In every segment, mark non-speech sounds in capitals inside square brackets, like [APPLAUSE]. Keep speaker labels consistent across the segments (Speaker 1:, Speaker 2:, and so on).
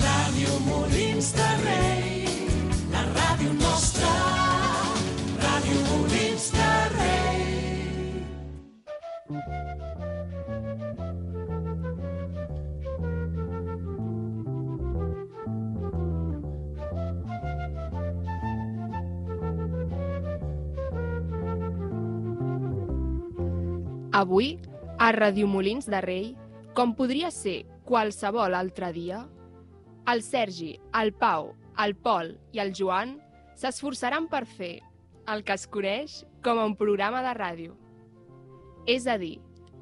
Speaker 1: Ràdio Molins de Rei, la ràdio nostra, Ràdio Molins de Rei.
Speaker 2: Avui, a Radiomolins de Rei, com podria ser qualsevol altre dia, el Sergi, el Pau, el Pol i el Joan s'esforçaran per fer el que es coneix com un programa de ràdio. És a dir,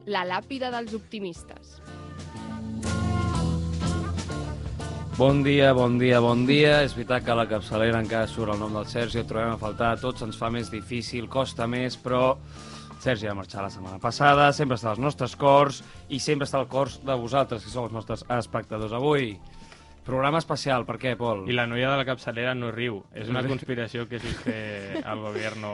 Speaker 2: la làpida dels optimistes.
Speaker 3: Bon dia, bon dia, bon dia. És veritat que a la capçalera encara surt el nom del Sergi, el trobem a faltar a tots, ens fa més difícil, costa més, però Sergi va marxar la setmana passada, sempre està als nostres cors i sempre està al cors de vosaltres, que sou els nostres espectadors avui. Programa especial, per què, Pol?
Speaker 4: Y la novia de la capsalera no riu. Es una
Speaker 3: [LAUGHS] No riu.
Speaker 4: conspiración que existe al gobierno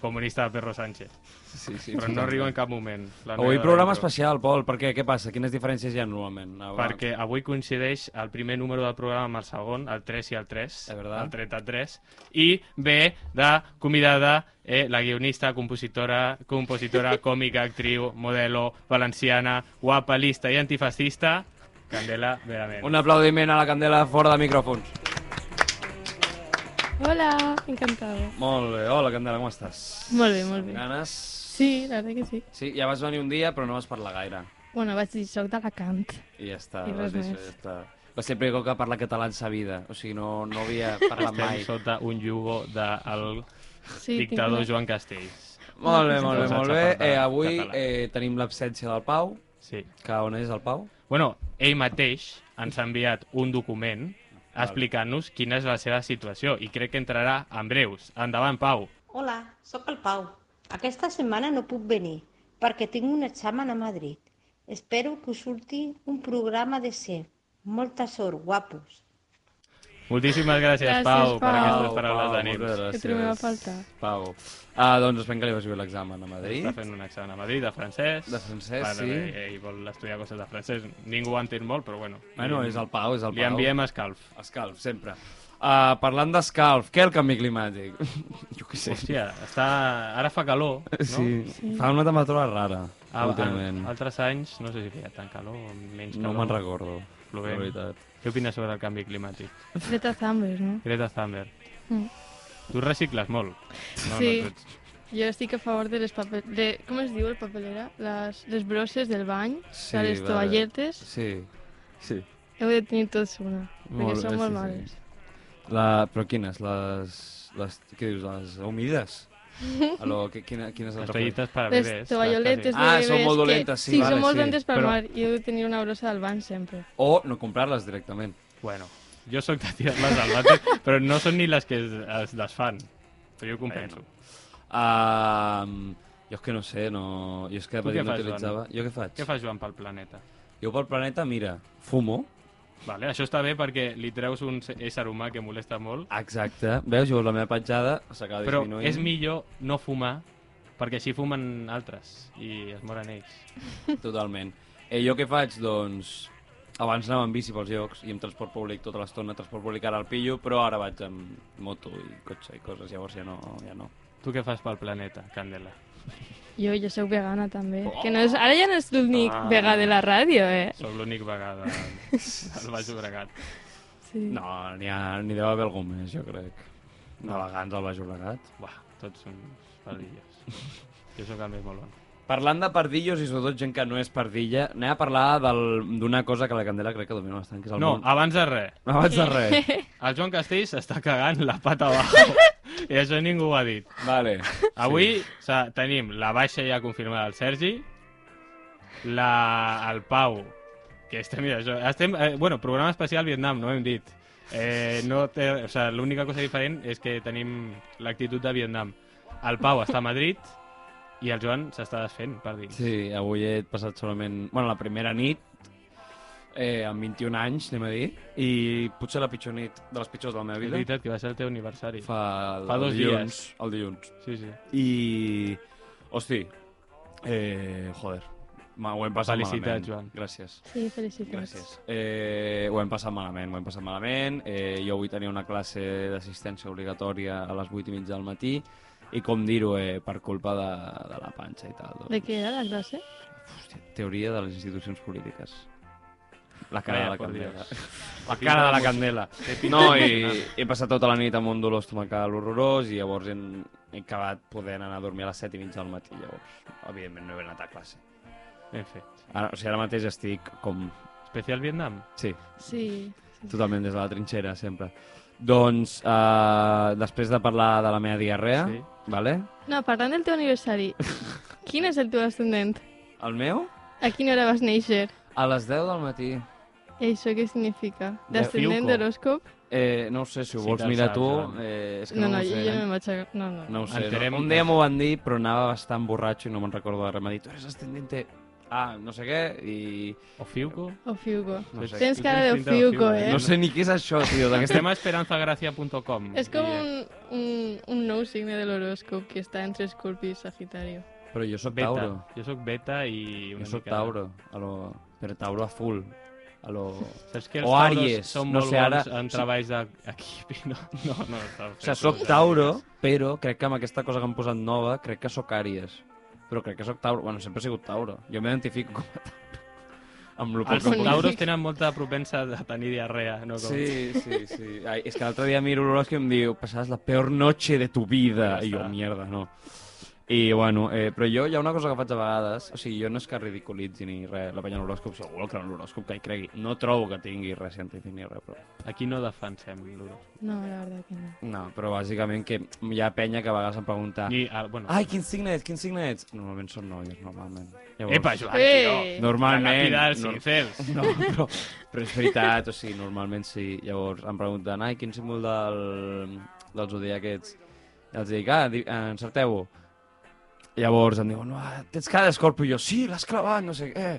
Speaker 4: comunista de Perro Sánchez.
Speaker 3: Sí, sí,
Speaker 4: Pero no riu en cap moment. La
Speaker 3: Avui
Speaker 4: noia de la
Speaker 3: programa
Speaker 4: Metro.
Speaker 3: especial, Pol, per què? Què passa? Quines diferències hi ha normalment? Ah, va.
Speaker 4: Perquè avui coincideix el primer número del programa amb el segon, el 3 i el 3,
Speaker 3: És verdad.
Speaker 4: el 33, i ve de convidada eh, la guionista, compositora,
Speaker 3: [LAUGHS]
Speaker 4: compositora, còmica, actriu, modelo, valenciana, guapa, lista i antifascista, Candela Verament.
Speaker 3: Un aplaudiment a la Candela fora de micròfons.
Speaker 5: Hola, encantada.
Speaker 3: Molt bé. Hola, Candela, com estàs?
Speaker 5: Molt bé, molt bé.
Speaker 3: Ganes?
Speaker 5: Sí, la verdad que sí.
Speaker 3: Sí, ja vas venir un dia, però no vas parlar gaire.
Speaker 5: Bueno, vaig dir, soc d'Alacant.
Speaker 3: I ja està,
Speaker 5: I
Speaker 3: vas
Speaker 5: res
Speaker 3: dir, això,
Speaker 5: més.
Speaker 3: ja està. Va ser el primer cop que parla català en sa vida. O sigui, no, no havia parlat
Speaker 4: Estem
Speaker 3: mai.
Speaker 4: sota un yugo del
Speaker 5: Sí,
Speaker 4: dictador
Speaker 5: tinc una-
Speaker 4: Joan Castells.
Speaker 3: Molt bé,
Speaker 5: Una
Speaker 3: molt bé,
Speaker 4: cosa
Speaker 3: molt
Speaker 4: que
Speaker 3: bé.
Speaker 4: s'ha parlat
Speaker 3: Eh, avui
Speaker 4: català.
Speaker 3: eh, tenim l'absència del Pau,
Speaker 4: Sí.
Speaker 3: que on és el Pau?
Speaker 4: Bueno, ell mateix ens ha enviat un document explicant-nos quina és la seva situació i crec que entrarà en breus. Endavant, Pau.
Speaker 6: Hola, sóc el Pau. Aquesta setmana no puc venir perquè tinc un examen a Madrid. Espero que us surti un programa de ser. Molta sort, guapos.
Speaker 4: Moltíssimes gràcies,
Speaker 5: Gràcies,
Speaker 4: Pau, per
Speaker 5: Pau.
Speaker 4: aquestes paraules
Speaker 3: moltes
Speaker 4: d'ànims.
Speaker 3: gràcies.
Speaker 5: Que trobem a faltar.
Speaker 3: Pau. Ah, doncs esperem que li vagi bé l'examen a Madrid.
Speaker 4: Està fent un examen a Madrid de francès.
Speaker 3: De francès,
Speaker 4: Bueno,
Speaker 3: sí.
Speaker 4: Ell, ell vol estudiar coses de francès. Ningú ho entén molt, però bueno.
Speaker 3: Bueno,
Speaker 4: Li-
Speaker 3: és el Pau, és el Pau.
Speaker 4: Li enviem escalf.
Speaker 3: Escalf, sempre. Uh, parlant d'escalf, què el canvi climàtic? [LAUGHS] jo què sé.
Speaker 4: Hòstia, està... ara fa calor, no?
Speaker 3: [LAUGHS] Sí. Fa una temperatura rara,
Speaker 4: A,
Speaker 3: ah, últimament.
Speaker 4: a, altres anys no sé si feia tant calor o menys
Speaker 3: No
Speaker 4: calor.
Speaker 3: me'n recordo,
Speaker 4: Plovent.
Speaker 3: la veritat.
Speaker 4: Què opines sobre el canvi climàtic?
Speaker 5: Greta Thunberg, no?
Speaker 4: Greta Thunberg.
Speaker 5: Mm.
Speaker 4: Tu recicles molt.
Speaker 5: Sí.
Speaker 4: tu ets-
Speaker 5: Jo estic a favor de les paper... De... Com es diu el papelera? Les, les brosses del bany,
Speaker 3: Sí,
Speaker 5: sí, les
Speaker 3: vale.
Speaker 5: tovalletes.
Speaker 3: Sí, sí.
Speaker 5: Heu de tenir tots una,
Speaker 3: Molt
Speaker 5: perquè
Speaker 3: bé,
Speaker 5: són molt
Speaker 3: sí, sí.
Speaker 5: males.
Speaker 3: La, però quines? Les, les, què dius? Les humides? Alò, qui- quina, quines
Speaker 4: Les
Speaker 3: altres?
Speaker 4: toallites per a
Speaker 5: Les
Speaker 4: bebès.
Speaker 5: tovalloletes de
Speaker 3: Ah,
Speaker 5: bebès
Speaker 3: són molt
Speaker 5: que-
Speaker 3: dolentes, sí,
Speaker 5: sí
Speaker 3: vale,
Speaker 5: són molt
Speaker 3: sí.
Speaker 5: dolentes per
Speaker 4: Però-
Speaker 5: mar i heu de tenir una brossa del bany sempre.
Speaker 3: O no comprar-les directament.
Speaker 4: Bueno, jo sóc de tirar-les al vàter, [LAUGHS] però no són ni les que es, es desfan. Però jo ho compenso.
Speaker 3: Uh, jo és que no sé, no... Jo és que de
Speaker 4: Tu
Speaker 3: petit
Speaker 4: què
Speaker 3: no
Speaker 4: fas,
Speaker 3: utilitzava... Jo què faig?
Speaker 4: Què fa Joan pel planeta?
Speaker 3: Jo pel planeta, mira, fumo.
Speaker 4: Vale, això està bé perquè li treus un se- ésser humà que molesta molt,
Speaker 3: Exacte. Veus, llavors la meva petjada s'acaba
Speaker 4: però
Speaker 3: Ah, disminuint.
Speaker 4: és millor no fumar perquè així fumen altres i es moren ells.
Speaker 3: Totalment. Eh, jo què faig? Doncs... Abans anava amb bici pels llocs i amb transport públic tota l'estona, transport públic ara el pillo, però ara vaig amb moto i cotxe i coses, llavors ja no, ja no.
Speaker 4: Tu què fas pel planeta, Candela?
Speaker 5: Jo, jo sóc vegana també,
Speaker 3: Oh!
Speaker 5: que no és, ara ja no és l'únic
Speaker 3: Ah.
Speaker 5: vegà de la ràdio, eh?
Speaker 4: Sóc l'únic vegada
Speaker 5: [LAUGHS]
Speaker 4: al Baix Obregat.
Speaker 5: Sí.
Speaker 3: No, n'hi ha- n'hi deu haver algú més, jo crec. De vegans al Baix Obregat.
Speaker 4: Buah, tots són perdilles. Jo sóc el més molt bon.
Speaker 3: Parlant de pardillos i sobretot gent que no és pardilla, anem a parlar del- d'una cosa que la Candela crec que domina bastant, que és el
Speaker 4: No, ah.
Speaker 3: món.
Speaker 4: abans de res.
Speaker 3: Abans de res.
Speaker 4: El Joan Castells s'està cagant la
Speaker 3: [LAUGHS]
Speaker 4: pata abajo. I això ningú ho ha dit.
Speaker 3: vale.
Speaker 4: Avui s'ha- tenim la baixa ja confirmada del Sergi, la, el Pau, que estem, mira, això, estem, eh, bueno, programa especial Vietnam, no ho hem dit. Eh, no té, o sigui, l'única cosa diferent és que tenim l'actitud de Vietnam. El Pau està a Madrid i el Joan s'està desfent, per dir.
Speaker 3: Sí, avui he passat solament... Bueno, la primera nit, eh, amb 21 anys, anem a dir, i potser la pitjor nit de les pitjors de la meva
Speaker 4: És
Speaker 3: vida.
Speaker 4: veritat que va ser el teu aniversari.
Speaker 3: Fa, el,
Speaker 4: Fa dos
Speaker 3: el dilluns,
Speaker 4: dies.
Speaker 3: El dilluns.
Speaker 4: Sí, sí.
Speaker 3: I... Hosti, eh, joder, Ma- Ho hem passat malament.
Speaker 4: Felicitats, Joan.
Speaker 3: Gràcies.
Speaker 5: Sí, felicitats.
Speaker 3: Gràcies. Eh, ho hem passat malament, ho hem passat malament. Eh, jo avui tenia una classe d'assistència obligatòria a les 8 i mitja del matí i com dir-ho, eh, per culpa de, de la panxa i tal. Doncs,
Speaker 5: De què era la classe?
Speaker 3: Hòstia, teoria de les institucions polítiques. La cara
Speaker 4: Vaya,
Speaker 3: de la
Speaker 4: por
Speaker 3: candela.
Speaker 4: Dios.
Speaker 3: La cara de la candela. No, i he passat tota la nit amb un dolor estomacal horrorós i llavors he, he acabat podent anar a dormir a les 7 i mitja del matí. Llavors, evidentment, no he anat a classe.
Speaker 4: Ben fet.
Speaker 3: Ara, o sigui, ara mateix estic com...
Speaker 4: Especial Vietnam.
Speaker 3: Sí,
Speaker 5: Sí.
Speaker 3: Totalment des de la trinxera, sempre. Doncs, eh, després de parlar de la meva diarrea,
Speaker 4: Sí.
Speaker 3: vale?
Speaker 5: No, parlant del
Speaker 3: [LAUGHS]
Speaker 5: teu aniversari, quin és el teu ascendent?
Speaker 3: el meu,
Speaker 5: A quina hora vas néixer?
Speaker 3: a les 10 del matí.
Speaker 5: I això què significa?
Speaker 3: De
Speaker 5: D'ascendent
Speaker 4: Fiuco.
Speaker 5: d'horòscop?
Speaker 3: Eh, no ho sé, si ho
Speaker 4: Sí,
Speaker 3: vols
Speaker 4: te'l
Speaker 3: mirar
Speaker 4: saps,
Speaker 3: tu,
Speaker 4: Joan.
Speaker 3: eh, és que
Speaker 5: No,
Speaker 3: no,
Speaker 5: no,
Speaker 3: ho
Speaker 5: jo,
Speaker 3: sé.
Speaker 5: jo no em vaig... a- No, no.
Speaker 3: No ho sé,
Speaker 4: Enterem-
Speaker 3: no. un dia m'ho van dir, però anava bastant borratxo i no me'n recordo de res. M'ha dit, tu eres ascendente a no sé què, i
Speaker 4: O Fiuco.
Speaker 5: O Fiuco.
Speaker 3: no sé.
Speaker 5: Tens cara de
Speaker 4: Tens pinta de
Speaker 5: Fiuco,
Speaker 4: Fiuco,
Speaker 5: eh?
Speaker 3: No sé ni què és això, tio, d'aquesta...
Speaker 4: Estem a esperanzagracia.com.
Speaker 5: És com
Speaker 4: I, eh,
Speaker 5: un, un, un nou signe de l'horòscop que està entre Escorpi i Sagitario.
Speaker 3: Però jo sóc
Speaker 4: Beta.
Speaker 3: Tauro.
Speaker 4: Jo sóc beta i una
Speaker 3: Jo sóc
Speaker 4: mica-
Speaker 3: Tauro, a lo... però Tauro a full. A lo...
Speaker 4: Saps que els
Speaker 3: O
Speaker 4: tauros
Speaker 3: Àries,
Speaker 4: són
Speaker 3: no
Speaker 4: molt
Speaker 3: sé, ara-
Speaker 4: bons en
Speaker 3: sí.
Speaker 4: treballs [LAUGHS] d'equip i no... No, no, no
Speaker 3: O sigui, soc Tauro, però crec que amb aquesta cosa que han posat nova, crec que sóc Àries. Però crec que sóc Tauro. Bueno, sempre he sigut Tauro. Jo m'identifico com a Tauro. Amb lo poc
Speaker 4: Els
Speaker 3: que
Speaker 5: Alfons.
Speaker 3: puc.
Speaker 4: tauros tenen molta propensa de tenir diarrea, Ah, no? Com...
Speaker 3: Sí, sí, sí. Ai, és que l'altre dia miro l'horòscop i em diu passaràs la peor noche de tu vida.
Speaker 4: Ja
Speaker 3: I jo,
Speaker 4: està.
Speaker 3: mierda, no. I, bueno, eh, però jo hi ha una cosa que faig a vegades, o sigui, jo no és que ridiculitzi ni res, la penya en l'horòscop, segur que creu en l'horòscop, que hi cregui. No trobo que tingui res científic ni res, però...
Speaker 4: Aquí no defensem l'uro.
Speaker 5: No, la veritat que no.
Speaker 3: No, però bàsicament que hi ha penya que a vegades em pregunta...
Speaker 4: Ni, ah, bueno...
Speaker 3: Ai, quins signets, quins signets? Normalment són noies, normalment. Llavors,
Speaker 4: Epa, Joan,
Speaker 5: Eh!
Speaker 4: eh!
Speaker 3: Normalment.
Speaker 4: dels
Speaker 3: no,
Speaker 4: incels.
Speaker 3: [LAUGHS] no, però, però és veritat, o sigui, normalment sí. Llavors em pregunten, ai, quin símbol del, del zodiac ets? I els dic, ah, di- eh, encerteu-ho. Llavors em diuen, uah, tens cara d'escorpio. I jo, sí, l'has clavat, no sé què.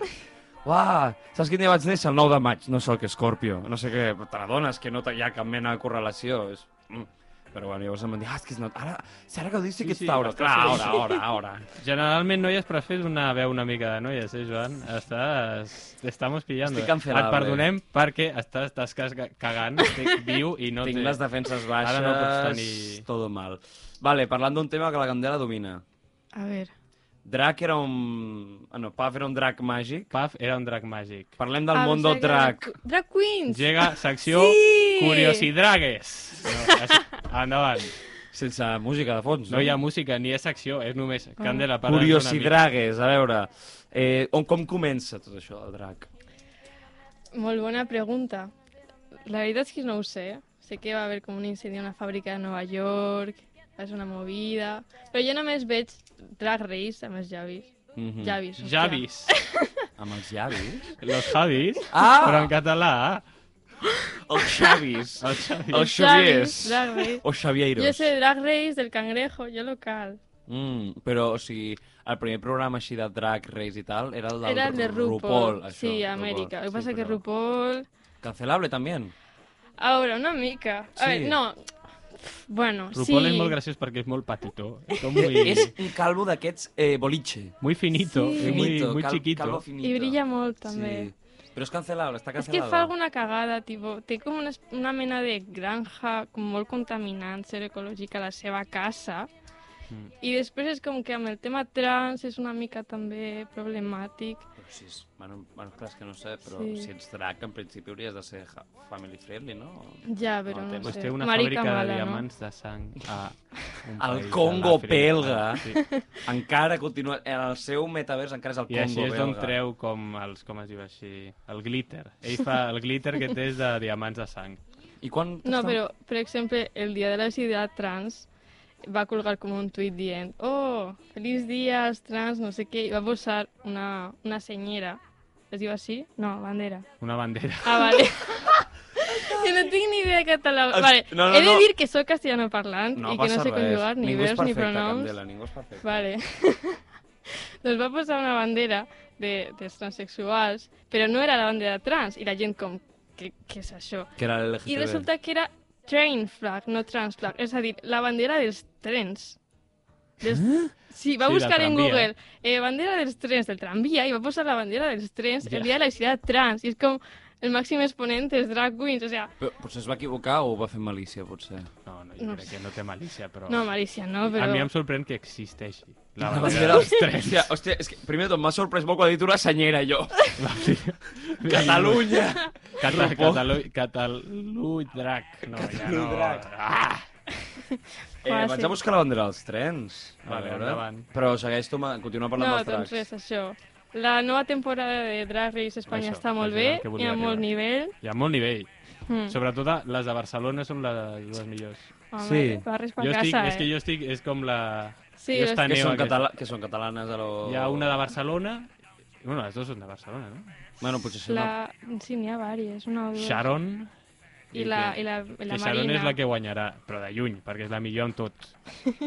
Speaker 3: Uah, saps quin dia vaig néixer? El 9 de maig. No sé el que és Scorpio. No sé què, però te n'adones que no hi ha cap mena de correlació. És... Mm. Però bueno, llavors em van dir, ah, és que és no... Ara, si ara que ho dius sí que ets
Speaker 4: Sí, sí,
Speaker 3: Tauro.
Speaker 4: estàs
Speaker 3: Clar,
Speaker 4: fent-
Speaker 3: ara, ara, ara.
Speaker 4: Generalment, noies, però has fet una veu una mica de noies, eh, Joan? Estàs... Te estamos pillando. eh?
Speaker 3: Estic cancelable. eh?
Speaker 4: Et perdonem perquè estàs, estàs ca- cagant, estic viu i no
Speaker 3: Tinc
Speaker 4: té...
Speaker 3: les defenses baixes,
Speaker 4: Ara no pots tenir-
Speaker 3: todo mal. Vale, parlant d'un tema que la Candela domina.
Speaker 5: A veure,
Speaker 3: Drac era un... Ah, no, Puff era un drac màgic.
Speaker 4: Paf era un drac màgic.
Speaker 3: Parlem del
Speaker 5: Ah,
Speaker 3: món
Speaker 5: pensava
Speaker 3: del
Speaker 5: que era
Speaker 3: drac.
Speaker 5: cu- Drag Queens!
Speaker 4: Llega secció
Speaker 5: Sí!
Speaker 4: Curiosidragues. No, és...
Speaker 5: [LAUGHS]
Speaker 4: Endavant.
Speaker 3: Sense música de fons.
Speaker 4: No hi ha música ni és secció, és
Speaker 5: Ah.
Speaker 4: només Candela parlant
Speaker 3: Curiosidragues, a veure. Eh, on, com comença tot això del drac?
Speaker 5: Molt bona pregunta. La veritat és que no ho sé. eh? Sé que va haver com un incendi a una fàbrica de Nova York, va ser una movida... Però jo només veig Drag Race amb els Javis.
Speaker 3: Mm
Speaker 5: Mm. Javis, hòstia.
Speaker 4: Javis.
Speaker 3: Mhm. Amb els llavis?
Speaker 4: Los Javis.
Speaker 3: Ah!
Speaker 4: Però en català.
Speaker 3: Els xavis.
Speaker 4: [LAUGHS] Els Javis.
Speaker 3: Els xaviers.
Speaker 5: Javis, Drag Race.
Speaker 3: O xavieros.
Speaker 5: Jo sé Drag Race del cangrejo, jo local.
Speaker 3: Mm, però, o sigui, el primer programa així de Drac, Reis i tal, era el del
Speaker 5: Era el de RuPaul.
Speaker 3: RuPaul això,
Speaker 5: sí, a
Speaker 3: RuPaul.
Speaker 5: Amèrica. El que
Speaker 3: Sí,
Speaker 5: passa que
Speaker 3: però-
Speaker 5: RuPaul...
Speaker 3: Cancelable, també.
Speaker 5: A veure, una mica. A
Speaker 3: Sí.
Speaker 5: veure, no... Bueno,
Speaker 4: RuPaul
Speaker 5: sí.
Speaker 4: és molt graciós perquè és molt petitó. És com
Speaker 3: Eh,
Speaker 4: muy,
Speaker 3: [LAUGHS] és un calvo d'aquests eh, boliche.
Speaker 4: muy finito,
Speaker 5: Sí.
Speaker 4: sí. muy,
Speaker 3: Finito,
Speaker 4: muy
Speaker 3: cal-
Speaker 4: chiquito.
Speaker 3: Calvo finito.
Speaker 5: I brilla molt, també.
Speaker 3: Sí. Però és cancelable, està
Speaker 5: És
Speaker 3: cancelado.
Speaker 5: que fa alguna cagada, tipo, té com una, es- una mena de granja com molt contaminant, ser ecològica, a la seva casa.
Speaker 4: Mm.
Speaker 5: I després és com que amb el tema trans és una mica també problemàtic.
Speaker 3: Però si és... Bueno, bueno, clar, és que no sé, però
Speaker 5: Sí.
Speaker 3: si ets drac, en principi hauries de ser ha- family friendly, no?
Speaker 5: Ja, però
Speaker 3: No,
Speaker 5: no,
Speaker 3: té-
Speaker 5: no
Speaker 4: Pues
Speaker 5: sé.
Speaker 4: té una
Speaker 5: Marica
Speaker 4: fàbrica
Speaker 5: mala,
Speaker 4: de
Speaker 5: no?
Speaker 4: diamants de sang a un
Speaker 3: Al
Speaker 4: país de
Speaker 3: Congo
Speaker 4: l'Àfrica.
Speaker 3: belga. [LAUGHS]
Speaker 4: Sí.
Speaker 3: Encara continua... En el seu metavers encara és el
Speaker 4: I
Speaker 3: Congo
Speaker 4: així és
Speaker 3: belga.
Speaker 4: d'on treu com els, com es diu així, el glitter. Ell fa el glitter que té és de diamants de sang.
Speaker 3: I quan...
Speaker 5: No, però, per exemple, el dia de la ciutat trans va colgar com un tuit dient «Oh, feliç dia als trans, no sé què», i va posar una, una senyera. Es diu així? No, bandera.
Speaker 4: Una bandera.
Speaker 5: Ah, vale. [LAUGHS] que no tinc ni idea de català.
Speaker 3: Es-
Speaker 5: Vale,
Speaker 3: no, no,
Speaker 5: he de
Speaker 3: no.
Speaker 5: dir que soy castellano parlant
Speaker 3: No
Speaker 5: i que no
Speaker 3: passa
Speaker 5: sé
Speaker 3: res.
Speaker 5: conjugar ni
Speaker 3: ningú és
Speaker 5: verbs ni
Speaker 3: perfecte,
Speaker 5: pronoms.
Speaker 3: Candela, ningú és perfecte.
Speaker 5: Vale. [LAUGHS] doncs va posar una bandera de, dels transexuals, però no era la bandera trans, i la gent com, què, què és això?
Speaker 3: Que era
Speaker 5: I
Speaker 3: l'LGTB.
Speaker 5: resulta que era train flag, no trans flag, és a dir, la bandera dels trens. Dels, Sí, va
Speaker 4: Ah? Sí, la
Speaker 5: a buscar en
Speaker 4: tranvía.
Speaker 5: Google eh, bandera dels trens del tranvía y va a posar la bandera dels trens
Speaker 4: Ja.
Speaker 5: el día de la visibilidad trans. Y es como el máximo exponente es drag queens. O sea,
Speaker 3: Però, potser es va equivocar o ho va fer amb malícia, potser.
Speaker 4: No, no, jo
Speaker 5: No
Speaker 4: crec que no té malícia, però...
Speaker 5: no, Maricia, no,
Speaker 4: Oh. A
Speaker 5: pero...
Speaker 4: mi em sorprèn que existeixi la
Speaker 3: La
Speaker 4: bandera dels trens.
Speaker 3: Hòstia, hòstia, és que primer de tot m'ha sorprès molt quan ha dit una senyera, jo.
Speaker 4: [LAUGHS]
Speaker 3: Catalunya!
Speaker 4: Cata,
Speaker 3: Rupó.
Speaker 4: Catalu... Cataludrac. No, ja no...
Speaker 3: Cataludrac.
Speaker 4: Ah!
Speaker 3: Eh,
Speaker 5: Hola,
Speaker 3: vaig
Speaker 5: sí.
Speaker 3: a buscar la bandera dels trens. A
Speaker 4: Vale,
Speaker 3: veure.
Speaker 4: endavant.
Speaker 3: Però segueix tu, ma- continua parlant
Speaker 5: No,
Speaker 3: dels
Speaker 5: doncs
Speaker 3: dracs.
Speaker 5: res, això. La nova temporada de Drag Race Espanya
Speaker 4: Això,
Speaker 5: està molt
Speaker 4: això era el
Speaker 5: bé,
Speaker 4: que volia
Speaker 5: hi ha molt
Speaker 4: arribar.
Speaker 5: nivell.
Speaker 4: Hi ha molt nivell.
Speaker 5: Mm.
Speaker 4: Sobretot a- les de Barcelona són les, les millors.
Speaker 5: Home, eh,
Speaker 3: Sí.
Speaker 5: barres per
Speaker 4: Jo estic,
Speaker 5: casa,
Speaker 4: és que
Speaker 5: eh?
Speaker 4: jo estic, és com la...
Speaker 5: Sí,
Speaker 4: jo
Speaker 5: jo
Speaker 4: estan-
Speaker 3: Que
Speaker 4: Aneu
Speaker 3: són,
Speaker 4: aquesta.
Speaker 3: catala que són catalanes a lo...
Speaker 4: Hi ha una de Barcelona... Bueno, les dues són de Barcelona, no?
Speaker 3: Bueno, potser són...
Speaker 5: estic-
Speaker 3: La...
Speaker 5: La... Sí, n'hi ha diverses, una o dues.
Speaker 4: Sharon...
Speaker 5: I la, i la, i la
Speaker 4: que Sharon
Speaker 5: Marina.
Speaker 4: és la que guanyarà, però de lluny, perquè és la millor en tot.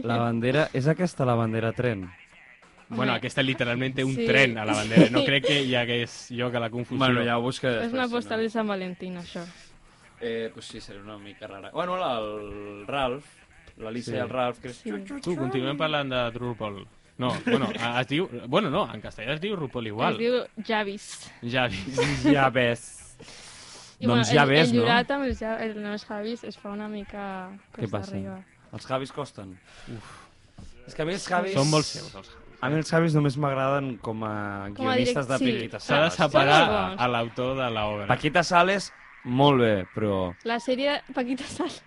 Speaker 3: La bandera... És aquesta la bandera tren?
Speaker 5: Home.
Speaker 4: Bueno, aquesta literalment té un
Speaker 5: Sí.
Speaker 4: tren a la bandera. No
Speaker 5: [LAUGHS] Sí.
Speaker 4: crec que hi hagués jo que la confusió.
Speaker 3: Bueno, ja ho buscaré
Speaker 5: És
Speaker 3: després.
Speaker 5: una
Speaker 3: si
Speaker 5: postal
Speaker 3: no.
Speaker 5: de Sant Valentín, això.
Speaker 3: Eh, pues sí, seria una mica rara. Bueno, la, el Ralf, l'Alícia sí.
Speaker 4: Sí.
Speaker 3: i el Ralf... Que...
Speaker 5: Sí.
Speaker 4: Tu, continuem parlant de RuPaul. No, bueno, a- es diu... Bueno, no, en castellà es diu RuPaul igual.
Speaker 5: Es diu Javis.
Speaker 4: Javis.
Speaker 3: Ja ves.
Speaker 5: I,
Speaker 3: Doncs
Speaker 5: bueno,
Speaker 3: ja
Speaker 5: el,
Speaker 3: ves,
Speaker 5: el
Speaker 3: no?
Speaker 5: jurat amb els, ja- el, no, els Javis es fa una mica
Speaker 3: Què
Speaker 5: costa
Speaker 3: passa?
Speaker 5: arriba.
Speaker 3: Els Javis costen. Uf. És que a mi els Javis...
Speaker 4: Són molt seus, els Javis.
Speaker 3: A mi els Javis només m'agraden com a
Speaker 5: Com a
Speaker 3: guionistes de
Speaker 5: direct- sí.
Speaker 3: Paquita
Speaker 4: S'ha de
Speaker 3: Sales.
Speaker 4: separar
Speaker 5: Són molt bons.
Speaker 4: a l'autor de l'obra.
Speaker 3: Paquita Sales, molt bé, però...
Speaker 5: La sèrie de Paquita Sales.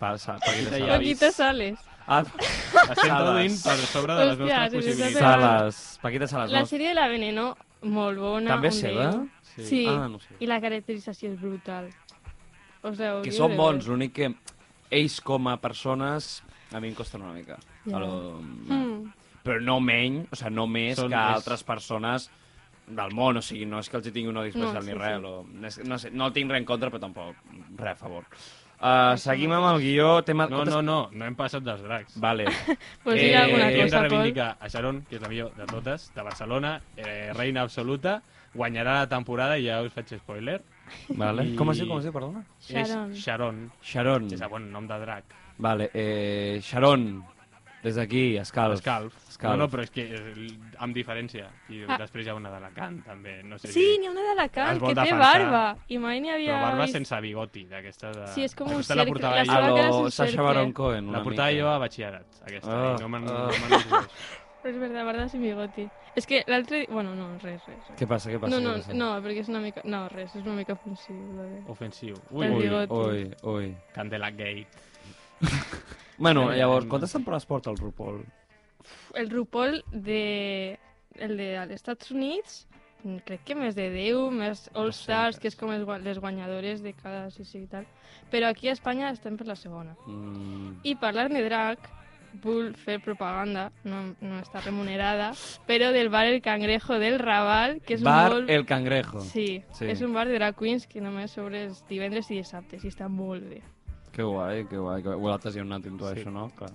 Speaker 3: Passa, Paquita
Speaker 4: Paquita
Speaker 3: Sales.
Speaker 5: Paquita Sales.
Speaker 4: [LAUGHS]
Speaker 3: Ah,
Speaker 4: Estem traduint per sobre de les
Speaker 5: Hòstia,
Speaker 4: nostres
Speaker 5: sí, sí, sí,
Speaker 4: possibilitats.
Speaker 3: Sales. Paquita Sales,
Speaker 5: La
Speaker 3: no?
Speaker 5: sèrie de la Veneno, molt bona.
Speaker 3: També
Speaker 5: un
Speaker 3: seva?
Speaker 5: déu.
Speaker 4: Sí.
Speaker 5: Sí.
Speaker 3: Ah, no ho sé.
Speaker 5: I la caracterització és brutal. O sigui,
Speaker 3: Que són bons, l'únic que ells com a persones a mi em costen una mica.
Speaker 5: Ja.
Speaker 3: A lo-
Speaker 5: Mm.
Speaker 3: Però no menys, o sigui, no més
Speaker 4: Són
Speaker 3: que
Speaker 4: més-
Speaker 3: altres persones del món, o sigui, no és que els hi tingui un odi especial
Speaker 5: No,
Speaker 3: ni
Speaker 5: sí,
Speaker 3: res,
Speaker 5: sí.
Speaker 3: o... no, és- no, sé, no el tinc res en contra, però tampoc res a favor. Uh, seguim amb el guió, tema...
Speaker 4: No, no, no, no hem passat dels dracs.
Speaker 3: Vale.
Speaker 5: Pues
Speaker 3: Eh,
Speaker 5: dir alguna
Speaker 4: hem de
Speaker 5: cosa, Pol.
Speaker 4: reivindicar a Sharon, que és la millor de totes, de Barcelona, eh, reina absoluta, guanyarà la temporada, i ja us faig spoiler.
Speaker 3: vale.
Speaker 4: [LAUGHS] I-
Speaker 3: Com es diu, com es diu, perdona?
Speaker 5: Sharon.
Speaker 4: És Sharon,
Speaker 3: Sharon.
Speaker 4: que és el bon nom de drac.
Speaker 3: Vale, eh, Sharon, des d'aquí, Escalf.
Speaker 4: Escalf.
Speaker 3: Escalf.
Speaker 4: No, no, però és que eh, amb diferència. I
Speaker 5: Ah.
Speaker 4: després hi ha una d'Alacant, també. No sé
Speaker 5: Sí,
Speaker 4: si...
Speaker 5: n'hi ha una d'Alacant,
Speaker 4: Es vol
Speaker 5: que té
Speaker 4: defensar.
Speaker 5: barba. I mai n'hi havia
Speaker 4: Però barba
Speaker 5: vist.
Speaker 4: sense bigoti, d'aquesta de...
Speaker 5: Sí, és com un
Speaker 4: Aquesta la
Speaker 5: cercle,
Speaker 4: portava
Speaker 5: la
Speaker 4: jo.
Speaker 5: seva
Speaker 3: A
Speaker 5: cara és un
Speaker 3: lo Sacha
Speaker 5: cercle.
Speaker 3: Baron Cohen, una
Speaker 4: La portava
Speaker 3: mica.
Speaker 4: jo a batxillerat, aquesta.
Speaker 3: Ah,
Speaker 4: i no me'n
Speaker 3: ah.
Speaker 4: no me'n recordo.
Speaker 5: Però és veritat, barba sin bigoti. És que l'altre... Bueno, no, res, res. res.
Speaker 3: Què passa, què passa?
Speaker 5: No,
Speaker 3: què
Speaker 5: no,
Speaker 3: passa?
Speaker 5: no, perquè és una mica... No, res, és una mica ofensiu. La de...
Speaker 4: Ofensiu. Ui,
Speaker 5: El
Speaker 4: ui.
Speaker 5: bigoti.
Speaker 3: Ui, ui, ui.
Speaker 4: Candela Gate.
Speaker 3: Bueno,
Speaker 4: Eh,
Speaker 3: llavors,
Speaker 4: eh,
Speaker 3: quantes temporades porta el RuPaul?
Speaker 5: El RuPaul de... El de als Estats Units, mm, crec que més de 10, més All Stars, que és com els, gua- les guanyadores de cada sessió i tal. Però aquí a Espanya estem per la segona.
Speaker 3: Mm,
Speaker 5: I parlant de drag, vull fer propaganda, no, no està remunerada, però del bar El Cangrejo del Raval, que és
Speaker 3: Bar
Speaker 5: un molt...
Speaker 3: El Cangrejo.
Speaker 5: Sí,
Speaker 3: Sí.
Speaker 5: és un bar de drag queens que només sobre els divendres i dissabtes i està molt bé.
Speaker 3: Que guai, que guai. Que... guai. Vosaltres hi heu anat amb tu,
Speaker 4: Sí.
Speaker 3: això, no? Clar.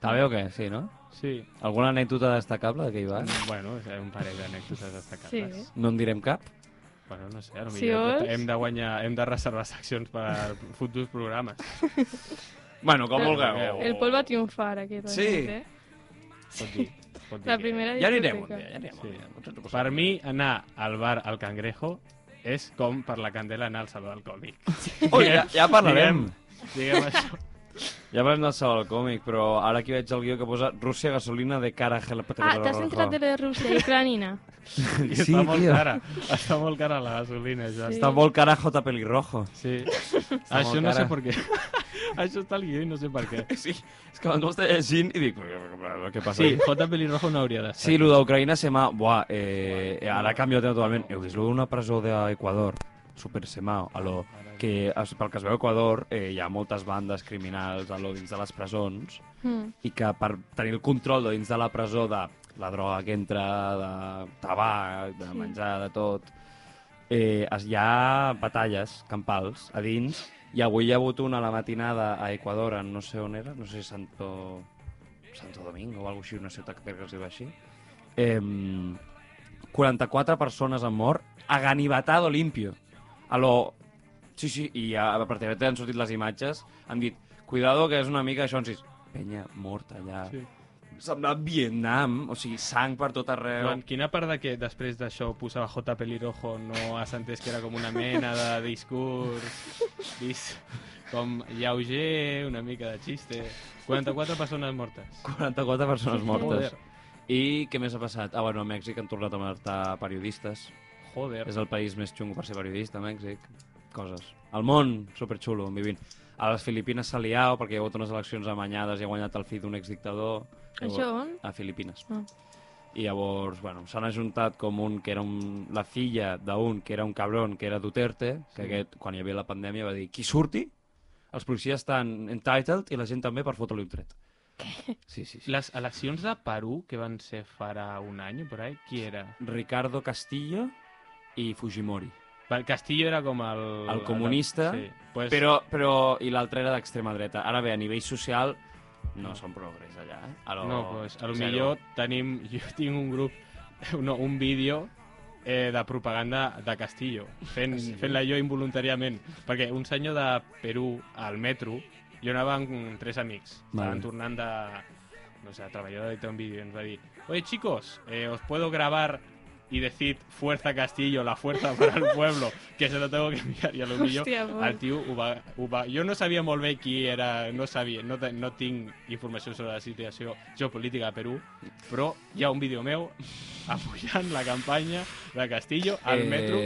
Speaker 3: També o què? Sí, no?
Speaker 4: Sí.
Speaker 3: Alguna anècdota destacable d'aquell bar?
Speaker 4: Bueno, hi ha un parell d'anècdotes destacables.
Speaker 5: Sí.
Speaker 3: No en direm cap?
Speaker 4: Bueno, no sé, a lo
Speaker 5: Si
Speaker 4: millor
Speaker 5: vols.
Speaker 4: hem de guanyar, hem de reservar seccions per futurs programes.
Speaker 3: Bueno, com
Speaker 5: El-
Speaker 3: vulgueu.
Speaker 5: El Pol va triomfar aquest
Speaker 3: Sí.
Speaker 5: any, eh?
Speaker 4: Pot dir, pot dir
Speaker 5: La
Speaker 4: que-
Speaker 5: primera
Speaker 3: Ja anirem un
Speaker 5: discoteca.
Speaker 3: dia, ja anirem
Speaker 4: Sí.
Speaker 3: un dia. Potser ens ho passem
Speaker 4: Per
Speaker 3: bé.
Speaker 4: mi, anar al bar al Cangrejo és com per la candela anar al Saló del Còmic.
Speaker 3: Ui, ja, ja parlarem.
Speaker 4: Diguem, diguem això.
Speaker 3: Ja parlarem del salt al còmic, però ara aquí veig el guió que posa Rússia gasolina de cara a gel...
Speaker 5: Ah, t'has entrat de la de Rússia i Ucraïna?
Speaker 4: I
Speaker 3: [LAUGHS] Sí,
Speaker 4: està molt
Speaker 3: tio.
Speaker 4: cara. Està molt cara la gasolina, ja.
Speaker 5: Sí.
Speaker 3: Està molt carajo de pelirrojo.
Speaker 4: Sí.
Speaker 3: molt
Speaker 4: Això no sé
Speaker 3: cara.
Speaker 4: per què. [LAUGHS] Això està al guió i no sé per què.
Speaker 3: Sí, és que abans m'ho estava llegint i dic... Què passa
Speaker 4: Sí,
Speaker 3: aquí?
Speaker 4: J. Pelirrojo no hauria d'estar.
Speaker 3: Sí, lo d'Ucraïna se m'ha... Buah, eh, ara ha canviat totalment. Heu vist lo d'una presó d'Equador? Super se m'ha. A lo que, es- pel que es veu a Equador, eh, hi ha moltes bandes criminals a lo dins de les presons
Speaker 5: Mm.
Speaker 3: i que per tenir el control de dins de la presó de la droga que entra, de tabac, de
Speaker 5: Sí.
Speaker 3: menjar, de tot, eh, es, hi ha batalles campals a dins i avui hi ha hagut una a la matinada a Equador, en no sé on era, no sé si Santo, Santo Domingo o alguna així, una ciutat que crec que es diu així. Eh, 44 persones han mort a ganivetado limpio. A lo... Sí, sí, i ja, a partir d'ara han sortit les imatges, han dit, cuidado que és una mica això, en sis, penya morta allà.
Speaker 4: Sí.
Speaker 3: Sí. semblar Vietnam, o sigui, sang per tot arreu.
Speaker 4: Joan, quina part de que després d'això posava J. Pelirrojo no has entès que era com una mena de discurs vist com lleuger, una mica de xiste... 44 persones mortes.
Speaker 3: 44 persones mortes.
Speaker 4: Joder.
Speaker 3: I què més ha passat? Ah, bueno, a Mèxic han tornat a matar periodistes.
Speaker 4: Joder.
Speaker 3: És el país més xungo per ser periodista, Mèxic. Coses. El món, superxulo, on vivint. A les Filipines se li ha, perquè hi ha hagut unes eleccions amanyades i ha guanyat el fill d'un exdictador. Llavors-
Speaker 5: Això on?
Speaker 3: A Filipines.
Speaker 5: Ah.
Speaker 3: I llavors, bueno, s'han ajuntat com un que era un, la filla d'un que era un cabron, que era Duterte, que
Speaker 4: Sí.
Speaker 3: aquest, quan hi havia la pandèmia, va dir, qui surti? Els policies estan entitled i la gent també per fotre-li un tret. Què? Sí, sí, sí.
Speaker 4: Les eleccions de Perú, que van ser farà un any, o per ahí, qui era?
Speaker 3: Ricardo Castillo i Fujimori.
Speaker 4: Va, Castillo era com el...
Speaker 3: El comunista,
Speaker 4: Sí. Pues,
Speaker 3: Però, però, i l'altre era d'extrema dreta. Ara bé, a nivell social, no són progrés allà, eh? A lo...
Speaker 4: No, pues, a lo
Speaker 3: zero.
Speaker 4: millor tenim... [LAUGHS] Jo tinc un grup... No, un vídeo eh, de propaganda de Castillo, fent,
Speaker 3: Ah, sí?
Speaker 4: fent-la jo involuntàriament. Perquè un senyor de Perú al metro, jo anava amb tres amics,
Speaker 3: Vale.
Speaker 4: estaven tornant de... No sé, treballador d'editar un vídeo, i ens va dir Oye, chicos, eh, os puedo grabar y decir Fuerza Castillo, la fuerza para el pueblo, que se lo tengo que enviar. I a lo millor
Speaker 5: Hòstia, por.
Speaker 4: el tio ho va, ho va... Jo no sabia molt bé qui era, no sabia, no, te- no tinc informació sobre la situació geopolítica a Perú, però hi ha un vídeo meu [LAUGHS] apoyant la campanya de Castillo al
Speaker 3: Eh,
Speaker 4: metro,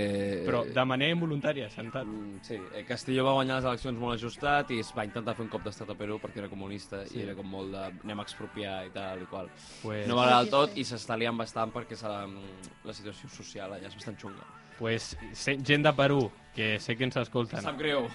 Speaker 4: però de manera involuntària, sentat.
Speaker 3: Mm, Sí, eh, Castillo va guanyar les eleccions molt ajustat i es va intentar fer un cop d'estat a Perú perquè era comunista sí.
Speaker 4: Sí.
Speaker 3: i era com molt de anem a expropiar i tal i qual.
Speaker 4: Pues,
Speaker 3: No va agradar del tot i s'està liant bastant perquè se la, mm, la situació social allà és bastant xunga.
Speaker 4: pues, se- gent de Perú, que sé que ens escolten.
Speaker 3: Sap greu.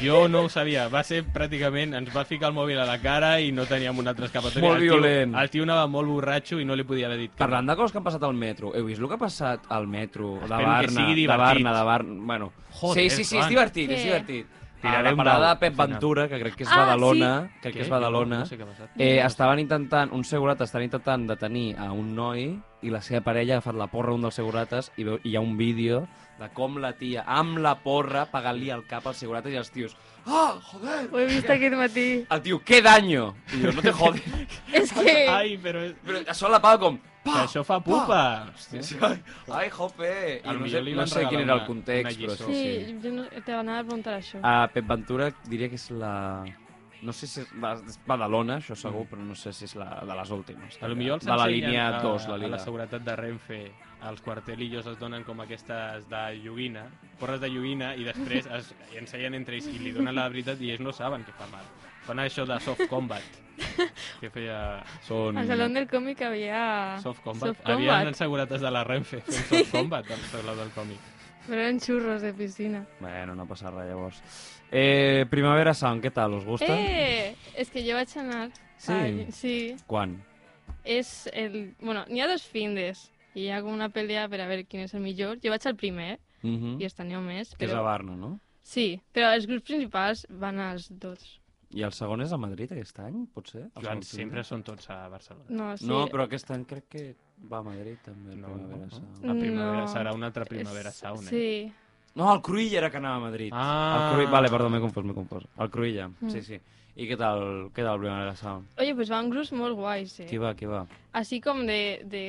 Speaker 4: Jo no ho sabia, va ser pràcticament, ens va ficar el mòbil a la cara i no teníem una altra escapatòria.
Speaker 3: Molt
Speaker 4: El tio-
Speaker 3: violent.
Speaker 4: El tio anava molt borratxo i no li podia haver dit que...
Speaker 3: Parlant de coses que han passat al metro, heu vist el que ha passat al metro, de
Speaker 4: Espero que
Speaker 3: Barna,
Speaker 4: sigui
Speaker 3: de
Speaker 4: divertit.
Speaker 3: Barna, de Barna, bueno...
Speaker 4: Joder,
Speaker 3: sí, sí, sí,
Speaker 4: Joan.
Speaker 3: és divertit, és
Speaker 5: Què?
Speaker 3: divertit. A la
Speaker 4: Tirarem
Speaker 3: parada
Speaker 4: dau,
Speaker 3: de Pep
Speaker 4: al final.
Speaker 3: Ventura, que crec que és
Speaker 5: Ah,
Speaker 3: Badalona, crec que
Speaker 4: Què?
Speaker 3: és Badalona,
Speaker 4: No sé què ha passat.
Speaker 3: eh, estaven intentant, un segurat estan intentant detenir a un noi i la seva parella ha agafat la porra a un dels segurates i, veu, i hi ha un vídeo de com la tia, amb la porra, pegant-li el cap als segurates i els tios, ah, joder!
Speaker 5: Ho he vist aquest matí.
Speaker 3: El tio, què daño! I jo, no te jodes.
Speaker 5: [LAUGHS]
Speaker 3: [LAUGHS]
Speaker 5: És que...
Speaker 4: Ai, però... és-
Speaker 3: Però això la paga com...
Speaker 4: Però això fa pupa!
Speaker 3: Sí, sí. Ai, ai, jope! I
Speaker 4: Al
Speaker 3: no
Speaker 4: millor
Speaker 3: sé,
Speaker 4: li
Speaker 3: no
Speaker 4: van
Speaker 3: sé quin
Speaker 4: regalar
Speaker 3: era el
Speaker 4: una-
Speaker 3: context,
Speaker 4: una
Speaker 3: però
Speaker 4: lliçó.
Speaker 3: sí, sí. Ah,
Speaker 5: Sí, jo no, te anava a preguntar això.
Speaker 3: A Pep Ventura diria que és la... No sé si és la és Badalona, això segur, però no sé si és la de les últimes.
Speaker 4: Mm. A lo millor els
Speaker 3: de la
Speaker 4: ensenyen
Speaker 3: línia
Speaker 4: a-
Speaker 3: 2, la
Speaker 4: A
Speaker 3: línia.
Speaker 4: la seguretat de Renfe, els quartelillos es donen com aquestes de lloguina, porres de lloguina, i després es ensenyen entre ells i li donen la veritat i ells no saben que fa mal. Fan això de soft combat, que feia...
Speaker 3: Són...
Speaker 5: Al Salón del Còmic havia...
Speaker 4: mm. Soft combat.
Speaker 5: Soft combat.
Speaker 4: Havien assegurat de la Renfe fent soft combat del teulat del còmic.
Speaker 5: Però eren xurros de piscina.
Speaker 3: Bueno, no passa res, llavors. Eh, Primavera Sound, què tal? Us gusta?
Speaker 5: Eh! És que jo vaig anar...
Speaker 3: Sí?
Speaker 5: Ai, sí.
Speaker 3: Quan?
Speaker 5: És el... Bueno, n'hi ha dos findes. I hi ha com una pelea per a veure quin és el millor. Jo vaig al primer,
Speaker 3: Mm
Speaker 5: i està n'hi ha més.
Speaker 3: Que és a
Speaker 5: Però...
Speaker 3: Barna, no?
Speaker 5: Sí, però els grups principals van als dos.
Speaker 3: I el segon és a Madrid aquest any, potser? El
Speaker 4: Joan,
Speaker 3: segon
Speaker 4: sempre
Speaker 3: primer?
Speaker 4: són tots a Barcelona.
Speaker 5: No, sí.
Speaker 3: No, però aquest any crec que va a Madrid també, el
Speaker 4: No,
Speaker 3: Primavera
Speaker 4: no.
Speaker 3: Sound.
Speaker 4: La primavera
Speaker 5: No.
Speaker 4: serà una eh? altra
Speaker 5: és-
Speaker 4: primavera sauna.
Speaker 5: Sí.
Speaker 3: No, el Cruïlla era que anava a Madrid.
Speaker 4: Ah.
Speaker 3: El Cruïlla, vale, perdó, m'he confós, m'he confós. El Cruïlla,
Speaker 5: Mm.
Speaker 3: sí, sí. I què tal, què tal Primavera Sound?
Speaker 5: Oye, pues van grups molt guais, eh?
Speaker 3: Qui va, qui va?
Speaker 5: Així com de, de,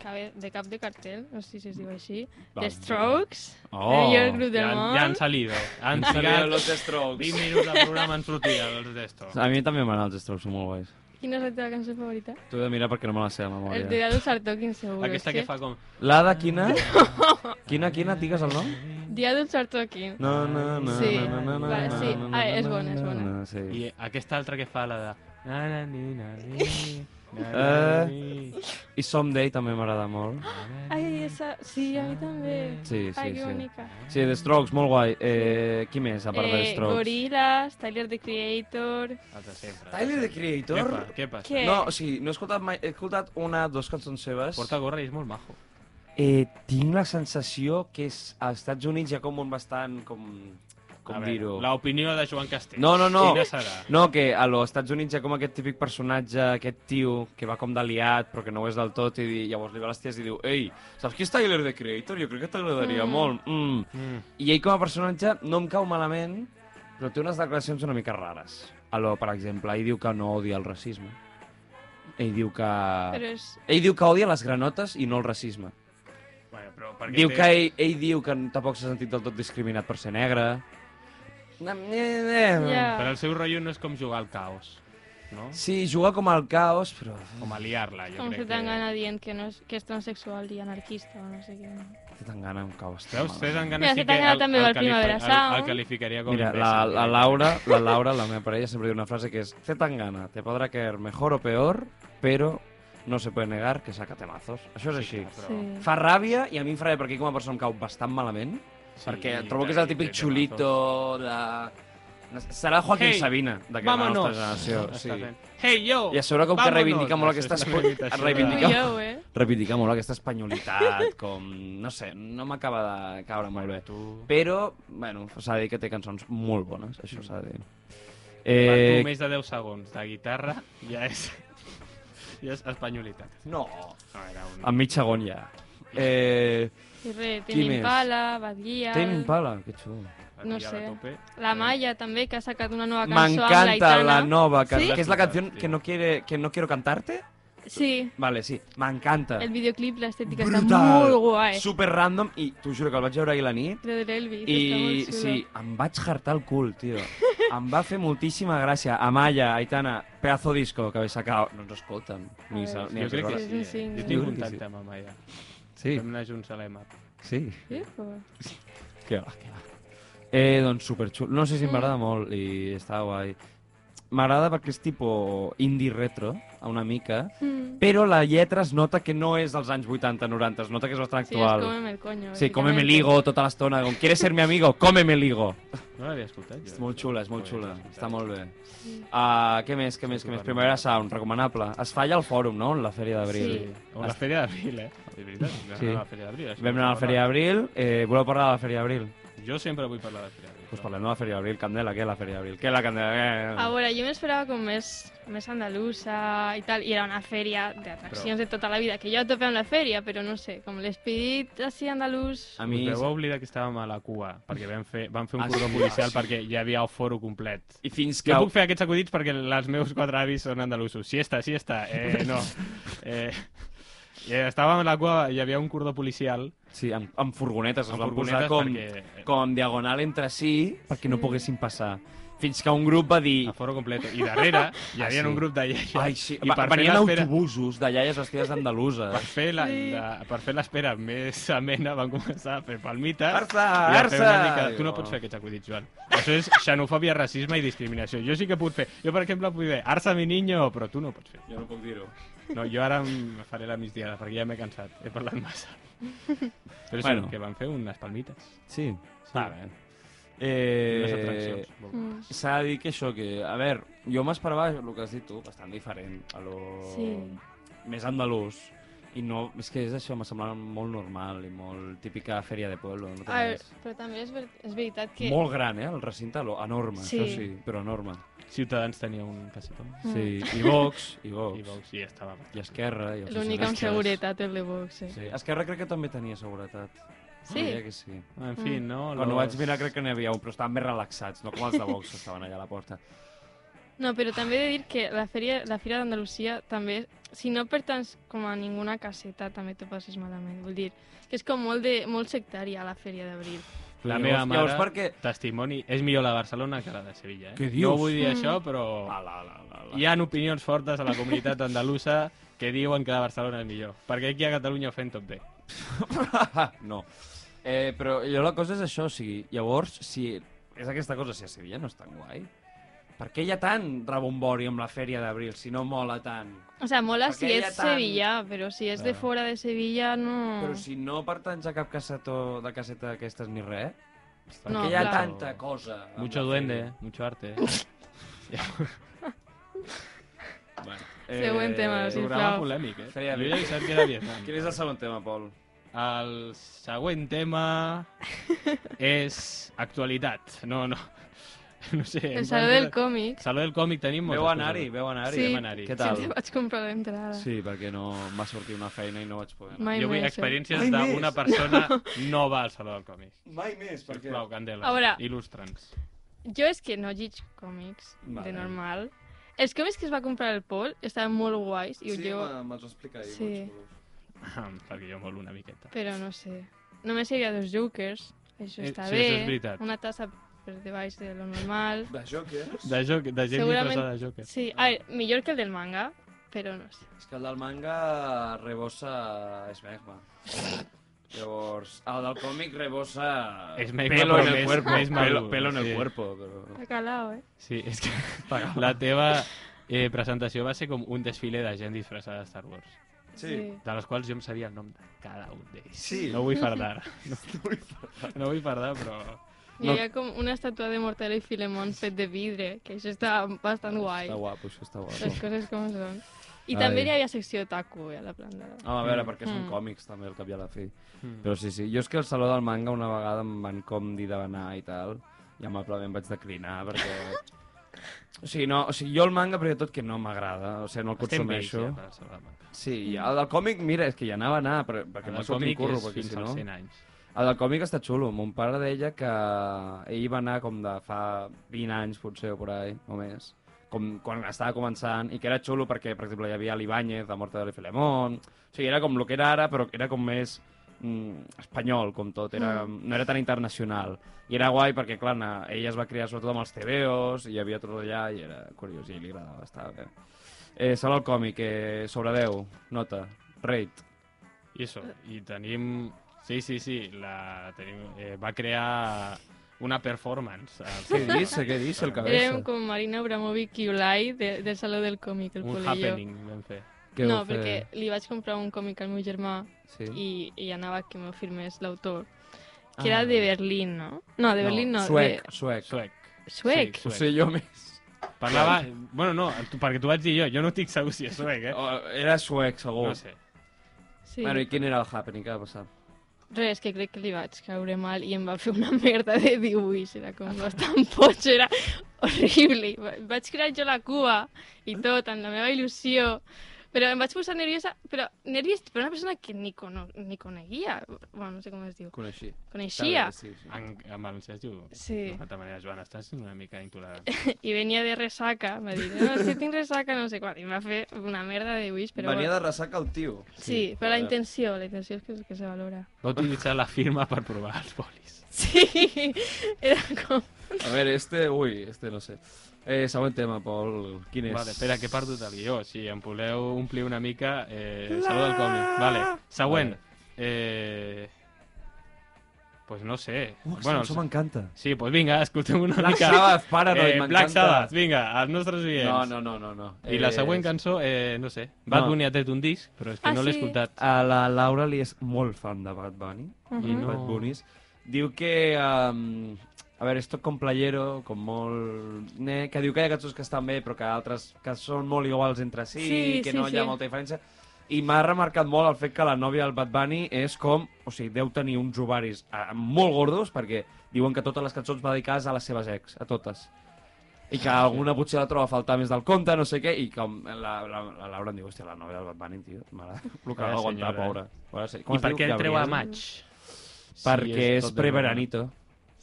Speaker 5: cabe, de cap de cartell, no sé si es diu així.
Speaker 3: Vale.
Speaker 5: The Strokes,
Speaker 3: Oh,
Speaker 5: el millor grup del
Speaker 4: Ja, han-
Speaker 5: món.
Speaker 4: ja han salido. Han
Speaker 3: Sabia
Speaker 4: salido.
Speaker 3: los Strokes.
Speaker 4: 20 minuts de programa han sortit els d'esto.
Speaker 3: A mi també m'agraden els Strokes, són molt guais.
Speaker 5: Quina és la teva cançó favorita?
Speaker 3: T'ho he de mirar perquè no me la sé a
Speaker 5: El de
Speaker 3: memòria.
Speaker 5: Diados al Toquin, seguro.
Speaker 4: Aquesta
Speaker 5: és
Speaker 4: que fa com...
Speaker 3: La de
Speaker 5: [LAUGHS]
Speaker 3: quina? Quina, quina? Digues el nom?
Speaker 5: Diados al Toquin.
Speaker 3: No, no, no,
Speaker 5: Sí,
Speaker 3: no, no, no,
Speaker 5: vale,
Speaker 3: no,
Speaker 5: sí.
Speaker 3: no,
Speaker 5: Ah,
Speaker 3: no,
Speaker 5: és
Speaker 3: no,
Speaker 5: bona, és
Speaker 3: no,
Speaker 5: bona.
Speaker 3: no, sí.
Speaker 4: I aquesta altra que fa la de... Na, na, ni, na, ni, na, na,
Speaker 3: Eh.
Speaker 4: ni,
Speaker 3: I Someday també m'agrada molt.
Speaker 4: na, na,
Speaker 5: Ai, esa... Sí, a mi també.
Speaker 3: Sí, sí,
Speaker 5: Ah, Ai, que
Speaker 3: sí.
Speaker 5: bonica.
Speaker 3: Sí, The Strokes, molt guai. Eh, qui més, a part de
Speaker 5: Eh,
Speaker 3: Strokes?
Speaker 5: Gorillaz, Tyler, the Creator...
Speaker 4: Els de sempre.
Speaker 3: Tyler, the
Speaker 4: Què
Speaker 3: Creator?
Speaker 4: pa, què passa?
Speaker 5: Què?
Speaker 3: No, o sigui, no he escoltat mai... He escoltat una, dues cançons seves.
Speaker 4: Porta gorra i és molt majo.
Speaker 3: Eh, tinc la sensació que és, als Estats Units hi ha com un bastant... Com,
Speaker 4: A
Speaker 3: com
Speaker 4: veure,
Speaker 3: dir-ho?
Speaker 4: L'opinió de Joan Castells.
Speaker 3: No, no, no.
Speaker 4: Quina serà?
Speaker 3: No, que a los Estats Units hi ha com aquest típic personatge, aquest tio, que va com d'aliat, però que no ho és del tot, i di- llavors li va a les ties i diu «Ei, saps qui és Tyler, the Creator? Jo crec que t'agradaria
Speaker 5: Mm.
Speaker 3: molt». Mm.
Speaker 4: Mm.
Speaker 3: I ell com a personatge no em cau malament, però té unes declaracions una mica rares. A lo, per exemple, ell diu que no odia el racisme. Ell diu que...
Speaker 5: Però és...
Speaker 3: Ell diu que odia les granotes i no el racisme.
Speaker 4: Bueno, però perquè
Speaker 3: Diu
Speaker 4: té-
Speaker 3: que ell, ell diu que tampoc s'ha sentit del tot discriminat per ser negre.
Speaker 5: Ja.
Speaker 4: Però el seu rotllo no és com jugar al caos, no?
Speaker 3: Sí, juga com al caos, però...
Speaker 4: Com a liar-la, jo
Speaker 5: Com
Speaker 4: crec
Speaker 5: se
Speaker 4: que...
Speaker 5: t'engana dient que, no és, que és transexual i anarquista o no sé què.
Speaker 3: Té tan gana un caos. tan malament.
Speaker 4: Veus, té
Speaker 5: Mira,
Speaker 4: Tangana sí
Speaker 5: se
Speaker 4: que
Speaker 5: t'engana
Speaker 4: el,
Speaker 5: també
Speaker 4: el,
Speaker 5: el
Speaker 4: califi-
Speaker 5: Primavera
Speaker 4: el, el,
Speaker 5: Sound.
Speaker 4: qualificaria com
Speaker 3: Mira, la,
Speaker 4: imbècil,
Speaker 3: la
Speaker 4: directament.
Speaker 3: Laura, la Laura, la meva parella, siempre tiene una frase que es Te tan gana, te podrá caer mejor o peor, pero no se puede negar que saca temazos. Això és
Speaker 4: Sí,
Speaker 3: així.
Speaker 4: clar, però...
Speaker 5: Sí.
Speaker 3: Fa ràbia i a mi em fa ràbia perquè a mi com a persona em cau bastant malament,
Speaker 4: Sí,
Speaker 3: perquè
Speaker 4: i
Speaker 3: trobo que és
Speaker 4: té-
Speaker 3: el típic
Speaker 4: té
Speaker 3: xulito de... Serà Joaquín
Speaker 4: Hey,
Speaker 3: Sabina, d'aquesta
Speaker 4: Vámonos!
Speaker 3: nostra generació.
Speaker 4: [LAUGHS]
Speaker 3: Sí.
Speaker 4: Hey, yo!
Speaker 3: I a sobre com que
Speaker 4: vámonos!
Speaker 3: reivindica molt
Speaker 4: Això és
Speaker 3: aquesta,
Speaker 4: una
Speaker 3: espo...
Speaker 4: imitació de-
Speaker 5: Fui
Speaker 3: reivindica,
Speaker 5: jo, eh?
Speaker 3: reivindica molt aquesta espanyolitat, com... No sé, no m'acaba de caure molt bé.
Speaker 4: Tu...
Speaker 3: Però, bueno, s'ha de dir que té cançons molt bones, això s'ha de dir.
Speaker 4: Eh...
Speaker 3: Eh,
Speaker 4: Tu més de 10 segons de guitarra ja és... [LAUGHS] ja és espanyolitat.
Speaker 3: no,
Speaker 4: No, era un...
Speaker 3: en mig segon ja. Eh,
Speaker 5: I res,
Speaker 3: Qui
Speaker 5: Tim
Speaker 3: més?
Speaker 5: Impala, Bad Gyal,
Speaker 3: Tame Impala, que xulo.
Speaker 4: la
Speaker 5: no
Speaker 4: pillada
Speaker 5: sé.
Speaker 4: a tope.
Speaker 5: La Maya també, que ha sacat una nova cançó amb
Speaker 3: M'encanta la nova
Speaker 5: Sí?
Speaker 3: cançó, que és la canció
Speaker 4: Sí.
Speaker 3: que no, quiere, que no quiero cantarte.
Speaker 5: Sí,
Speaker 3: Vale, sí, m'encanta.
Speaker 5: el videoclip, l'estètica està molt guai.
Speaker 3: Super random, i t'ho juro que el vaig veure ahir a la nit,
Speaker 5: Però de l'Elvis, està
Speaker 3: I
Speaker 5: molt xulo.
Speaker 3: sí, em vaig jartar el cul, tio. Em va fer moltíssima gràcia. Amaya, Aitana, pedazo disco que habéis sacado. No ens escolten. Ni,
Speaker 5: A
Speaker 3: sa,
Speaker 5: veure.
Speaker 3: ni
Speaker 4: Jo
Speaker 3: ens
Speaker 4: crec que
Speaker 5: És un
Speaker 4: sí. eh? Jo
Speaker 5: single.
Speaker 3: Jo
Speaker 4: tinc
Speaker 3: crec
Speaker 4: un
Speaker 3: que sí.
Speaker 4: tacte amb Amaya.
Speaker 3: Sí,
Speaker 4: Vam anar junts a l'EMAP.
Speaker 3: sí.
Speaker 5: Sí, o-
Speaker 3: Que va, que va. Eh, doncs superxul. No sé si m'agrada molt i està guai. M'agrada perquè és tipo indie retro, una mica,
Speaker 5: Mm.
Speaker 3: però la lletra es nota que no és dels anys 80-90, es nota que és bastant
Speaker 5: Sí, es
Speaker 3: actual.
Speaker 5: Cómeme el coño.
Speaker 3: Sí, cómeme ligo tota l'estona. Com, ¿Quieres ser mi amigo? Cómeme ligo.
Speaker 4: No l'havia escoltat, jo.
Speaker 3: És molt xula, és molt
Speaker 4: Molt bé,
Speaker 3: xula.
Speaker 4: sí, sí.
Speaker 3: Està molt bé. Uh, què més, què més, què més? Primavera Sound, recomanable. Es falla al fòrum, no?, en la Fèria d'Abril.
Speaker 5: Sí.
Speaker 4: O la Fèria d'Abril, eh? De veritat, vam
Speaker 3: Sí.
Speaker 4: anar a la Fèria d'Abril. això
Speaker 3: Vam anar a la
Speaker 4: no
Speaker 3: Fèria d'Abril. Eh, voleu parlar de la Fèria d'Abril? Doncs
Speaker 4: parla. Jo sempre vull parlar de la Fèria d'Abril.
Speaker 3: pues parlem de la Fèria d'Abril. Candela, què és la Fèria d'Abril? Què és la Candela?
Speaker 5: A
Speaker 3: Eh,
Speaker 5: veure, jo m'esperava com més, més andalusa i tal, i era una fèria d'atraccions de tota la vida, que jo a tope amb la fèria, però no sé, com l'esperit així andalús...
Speaker 3: A
Speaker 4: mi...
Speaker 3: mi...
Speaker 4: Us veu oblidar que estàvem a la cua, perquè vam fer, vam fer un
Speaker 3: Ah,
Speaker 4: cordó
Speaker 3: sí,
Speaker 4: policial
Speaker 3: sí.
Speaker 4: perquè hi havia el foro complet.
Speaker 3: I fins que...
Speaker 4: Jo puc fer aquests acudits perquè els meus quatre avis són andalusos. Sí està, sí està. Eh, no. Eh, eh, estàvem a la cua, hi havia un cordó policial.
Speaker 3: Sí, amb, amb furgonetes. Amb
Speaker 4: Amb
Speaker 3: es van
Speaker 4: furgonetes
Speaker 3: posar com,
Speaker 4: perquè-
Speaker 3: com en diagonal entre si perquè no poguessin passar. Fins que un grup va dir...
Speaker 4: A foro complet. I darrere hi havia
Speaker 3: Ah, sí.
Speaker 4: un grup de iaies.
Speaker 3: Ai, sí.
Speaker 4: I
Speaker 3: Va,
Speaker 4: per fer
Speaker 3: venien
Speaker 4: l'espera-
Speaker 3: autobusos de iaies vestides
Speaker 4: Per
Speaker 3: d'andaluses.
Speaker 4: fer la-
Speaker 5: Sí.
Speaker 4: la- per fer l'espera més amena van començar a fer palmites.
Speaker 3: Arça,
Speaker 4: i a fer una
Speaker 3: arça!
Speaker 4: mica- Tu no
Speaker 3: Digo.
Speaker 4: pots fer aquests acudits, Joan.
Speaker 3: [LAUGHS]
Speaker 4: Això és xenofòbia, racisme i discriminació. Jo sí que puc fer. Jo, per exemple, puc dir arsa mi niño, però tu no pots fer.
Speaker 3: Jo no puc dir-ho.
Speaker 4: No, jo ara em faré la migdiada perquè ja m'he cansat. He parlat massa. Però sí,
Speaker 3: Bueno.
Speaker 4: que van fer unes palmites.
Speaker 3: Sí. Està bé.
Speaker 4: Eh... Unes
Speaker 3: Eh,
Speaker 4: atraccions.
Speaker 5: Mm.
Speaker 3: S'ha de dir que això, que... A veure, jo m'esperava el que has dit tu, bastant diferent, a lo...
Speaker 5: Sí.
Speaker 3: més andalús. I no, és que és això, m'ha semblat molt normal i molt típica fèria de pueblo. No té
Speaker 5: A veure,
Speaker 3: res.
Speaker 5: però també és, ver és veritat que...
Speaker 3: Molt gran, eh, el recinte, lo, enorme, sí. això
Speaker 5: Sí. Mm.
Speaker 3: sí, però enorme.
Speaker 4: Ciutadans tenia un cassetó.
Speaker 3: Sí, i Vox, i Vox,
Speaker 4: I Vox, i estava...
Speaker 3: i Esquerra. I els
Speaker 5: L'únic amb
Speaker 3: socialistes.
Speaker 5: seguretat, el de Vox, eh?
Speaker 3: Sí. Esquerra crec que també tenia seguretat.
Speaker 5: Sí?
Speaker 3: Diria que sí.
Speaker 4: En fi, no?
Speaker 3: Quan ho vaig mirar crec que n'hi havia un, però estaven més relaxats, no com els de Vox que estaven allà a la porta.
Speaker 5: No, però també he de dir que la fèria, la Fira d'Andalusia també, si no pertans com a ninguna caseta, també t'ho passes malament. Vull dir, que és com molt, de, molt sectària la fèria d'abril.
Speaker 4: La
Speaker 3: Llavors-
Speaker 4: meva mare,
Speaker 3: Llavors, perquè...
Speaker 4: testimoni, és millor la de Barcelona que la de Sevilla. Eh?
Speaker 3: Què dius?
Speaker 4: No vull dir això, però
Speaker 3: Ala, ala, ala, ala.
Speaker 4: hi ha opinions fortes a la comunitat andalusa que diuen que la de Barcelona és millor. Perquè aquí a Catalunya ho fem tot bé.
Speaker 3: [LAUGHS] no. Eh, però jo la cosa és això, o sigui, llavors, si és aquesta cosa, si a Sevilla no és tan guai, per què hi ha tant rebombori amb la fèria d'abril si no mola tant?
Speaker 5: O sea, mola
Speaker 3: Perquè
Speaker 5: si
Speaker 3: ella
Speaker 5: és
Speaker 3: tant-
Speaker 5: Sevilla, però si és de
Speaker 4: Claro.
Speaker 5: fora de Sevilla, no...
Speaker 3: Però si no pertanys a cap cassetó de caseta d'aquestes ni res, per
Speaker 5: No,
Speaker 3: què hi ha
Speaker 5: clar.
Speaker 3: tanta cosa? amb la
Speaker 4: Mucho
Speaker 3: fèria?
Speaker 4: duende, eh, mucho arte. [LAUGHS]
Speaker 3: Bueno,
Speaker 5: Següent tema, sí.
Speaker 4: eh, Programa
Speaker 5: Sisplau.
Speaker 4: polèmic, eh?
Speaker 3: Feia
Speaker 4: Jo
Speaker 3: bé.
Speaker 4: ja he avisat que era Vietnam.
Speaker 3: Quin és el segon tema, Pol?
Speaker 4: El següent tema
Speaker 5: [LAUGHS]
Speaker 4: és actualitat. No, [LAUGHS] no. No sé. em
Speaker 5: El
Speaker 4: van
Speaker 5: saló
Speaker 4: fer-
Speaker 5: del còmic.
Speaker 4: Saló del còmic tenim moltes
Speaker 3: Veu anar-hi,
Speaker 4: coses.
Speaker 3: veu anar-hi.
Speaker 5: Sí.
Speaker 4: Vam anar-hi.
Speaker 3: Què tal?
Speaker 5: Sempre vaig comprar l'entrada.
Speaker 3: Sí, perquè no em va sortir una feina i no vaig poder anar.
Speaker 5: Mai
Speaker 4: Jo vull
Speaker 5: més, eh?
Speaker 4: experiències
Speaker 3: Ai, més.
Speaker 4: d'una persona
Speaker 5: [LAUGHS]
Speaker 4: nova al Saló del Còmic.
Speaker 3: Mai més,
Speaker 4: Sisplau, Candela,
Speaker 5: A veure.
Speaker 4: il·lustra'ns.
Speaker 5: Jo és que no llig còmics,
Speaker 3: Vale.
Speaker 5: de normal. Els còmics que es va comprar el Pol estaven molt guais, i
Speaker 7: Sí,
Speaker 5: jo...
Speaker 7: me- me'ls va explicar ahir.
Speaker 5: Sí.
Speaker 7: me'ls va-
Speaker 4: [LAUGHS] Perquè jo molt una miqueta.
Speaker 5: Però no sé. Només hi havia dos jokers, això
Speaker 4: Eh,
Speaker 5: està
Speaker 4: sí,
Speaker 5: bé.
Speaker 4: això és veritat.
Speaker 5: Una tassa per debaix de lo normal.
Speaker 7: De Jokers?
Speaker 4: De, joc, de gent
Speaker 5: Segurament-
Speaker 4: disfressada de Joker.
Speaker 5: Sí, a veure, millor que el del manga, però no sé.
Speaker 7: És que el del manga rebossa Smegma. Llavors, el del còmic rebossa...
Speaker 4: És Smegma,
Speaker 3: Pelo
Speaker 4: però
Speaker 3: en el
Speaker 4: més-
Speaker 3: cuerpo.
Speaker 4: més
Speaker 3: Pelo,
Speaker 4: maduro,
Speaker 3: pelo en el
Speaker 4: sí.
Speaker 3: cuerpo. Però...
Speaker 5: Ha calado, eh?
Speaker 4: Sí, és
Speaker 3: [LAUGHS]
Speaker 4: que [LAUGHS] la teva eh, presentació va ser com un desfile de gent disfressada de Star Wars,
Speaker 7: Sí.
Speaker 4: de les quals jo em sabia el nom de cada un d'ells.
Speaker 7: Sí.
Speaker 4: No vull
Speaker 3: [LAUGHS]
Speaker 4: fardar. No, vull fardar. No vull fardar, però...
Speaker 5: Hi havia com una estàtua de Mortadelo i Filemón fet de vidre, que això està bastant guai.
Speaker 3: Està guapo, això està guapo.
Speaker 5: Les coses com són. I
Speaker 3: Ai.
Speaker 5: també hi havia secció otaku eh, a la planta.
Speaker 3: Home, a veure, perquè són
Speaker 5: Mm.
Speaker 3: còmics també, al cap i a la fi.
Speaker 4: Mm.
Speaker 3: Però sí, sí. Jo és que al Saló del Manga una vegada em van com dir de benar i tal, i amablement vaig declinar, perquè... O sigui, no, o sigui, jo el manga, però tot que no m'agrada, o sigui, no el consumeixo.
Speaker 4: Estem vells, ja, eh, per
Speaker 3: sí, i el del còmic, mira, és que hi anava a anar, però, perquè m'ha sortit un curro, perquè
Speaker 4: fins
Speaker 3: si no...
Speaker 4: als 100 anys.
Speaker 3: El del còmic està xulo. Mon pare deia que ell va anar com de fa 20 anys, potser, o por ahí, o més, com, quan estava començant, i que era xulo perquè, per exemple, hi havia l'Ibáñez, de Mortadelo i Filemón... O sigui, era com el que era ara, però era com més mm, espanyol, com tot. Era,
Speaker 5: Mm.
Speaker 3: No era tan internacional. I era guai perquè, clar, na, ell es va criar sobretot amb els TVOs, i hi havia tot allà, i era curiós, i li agradava, estava bé. Eh, Saló al còmic, eh, sobre 10, nota, rate.
Speaker 4: I això, i tenim... Sí, sí, sí, la tenim... Eh, va crear una performance.
Speaker 3: Què dice, què dice el
Speaker 4: Ah,
Speaker 3: cabello?
Speaker 5: Érem com Marina Abramovic i Ulai de, del Saló del Còmic, el
Speaker 4: Un
Speaker 5: Pol i jo.
Speaker 4: happening vam fer.
Speaker 3: Què
Speaker 5: No,
Speaker 3: vau fer?
Speaker 5: perquè li vaig comprar un còmic al meu germà
Speaker 3: Sí.
Speaker 5: i, i anava que m'ho firmés l'autor, que
Speaker 3: Ah.
Speaker 5: era de Berlín, no? No, de Berlín no, eh,
Speaker 3: Suec, suec.
Speaker 4: Suec.
Speaker 5: de... Suec.
Speaker 4: Sí,
Speaker 3: Ho sé jo més.
Speaker 4: Parlava... Bueno, no, tu, perquè tu vaig dir jo, jo no estic segur si és suec, eh?
Speaker 3: Oh, era suec, segur.
Speaker 4: No sé.
Speaker 5: Sí.
Speaker 3: Bueno, i quin era el happening que va passar?
Speaker 5: Res, que crec que li vaig caure mal i em va fer una [LAUGHS] merda de dibuix, era com bastant boig, era horrible. I va- Vaig crear jo la cua i tot, amb la meva il·lusió, però em vaig posar nerviosa, però nerviós per una persona que ni, cono, ni coneguia, bueno, no sé com es diu,
Speaker 3: Coneixi.
Speaker 5: coneixia.
Speaker 3: Sí, sí.
Speaker 4: En, amb el Sergio...
Speaker 5: Sí,
Speaker 4: D'una altra manera, Joan, estàs una mica intolerant.
Speaker 5: i venia de ressaca, em va dir, no, si tinc ressaca, no sé quan, i em va fer una merda de dibuix, però
Speaker 7: Venia
Speaker 5: bueno.
Speaker 7: de ressaca el tio.
Speaker 5: Sí, però la intenció, la intenció és que, que se valora.
Speaker 4: Va utilitzar la firma per provar els bolis.
Speaker 5: [LAUGHS] Sí, era com...
Speaker 3: A veure, este... Ui, este no sé. Eh, següent tema, Pol. Quin és?
Speaker 4: Vale, espera, que he perdut el guió. Si em voleu omplir una mica, eh, salut del còmic. Vale, següent. Eh... Pues no sé.
Speaker 3: Uh, bueno, això
Speaker 4: s-
Speaker 3: m'encanta.
Speaker 4: sí, pues vinga, escoltem una
Speaker 3: Black
Speaker 4: mica.
Speaker 3: Sabbath, para, noi,
Speaker 4: eh,
Speaker 3: m'encanta.
Speaker 4: Black Sabbath, vinga, als nostres oients.
Speaker 3: No, no, no, no. no.
Speaker 4: I la següent cançó, eh, no sé,
Speaker 3: Eh, No.
Speaker 4: Bad Bunny ha tret un disc, però és que
Speaker 5: Ah,
Speaker 4: no l'he
Speaker 5: sí?
Speaker 4: escoltat.
Speaker 3: A la Laura li és molt fan de Bad Bunny.
Speaker 5: Mhm.
Speaker 3: i no. Bad Bunnies. Diu que... Um, a veure, és tot com playero, com molt... Ne, que diu que hi ha cançons que estan bé, però que altres que són molt iguals entre si,
Speaker 5: Sí,
Speaker 3: que
Speaker 5: sí,
Speaker 3: no hi ha
Speaker 5: sí.
Speaker 3: molta diferència. I m'ha remarcat molt el fet que la nòvia del Bad Bunny és com... O sigui, deu tenir uns ovaris eh, molt gordos, perquè diuen que totes les cançons va dedicades a les seves ex, a totes. I
Speaker 4: Ah,
Speaker 3: que alguna potser la troba a faltar més del compte, no sé què, i com la, la, la Laura em diu, hòstia, la nòvia del Bad Bunny, tio, mare, [LAUGHS] el que
Speaker 4: Vaya
Speaker 3: va aguantar,
Speaker 4: senyora. eh?"
Speaker 3: pobra. Ara sí.
Speaker 4: I
Speaker 3: es
Speaker 4: per
Speaker 3: diu?
Speaker 4: què el treu a
Speaker 3: Gabriel?
Speaker 4: maig?
Speaker 3: perquè és,
Speaker 4: tot de
Speaker 3: preveranito.
Speaker 4: broma.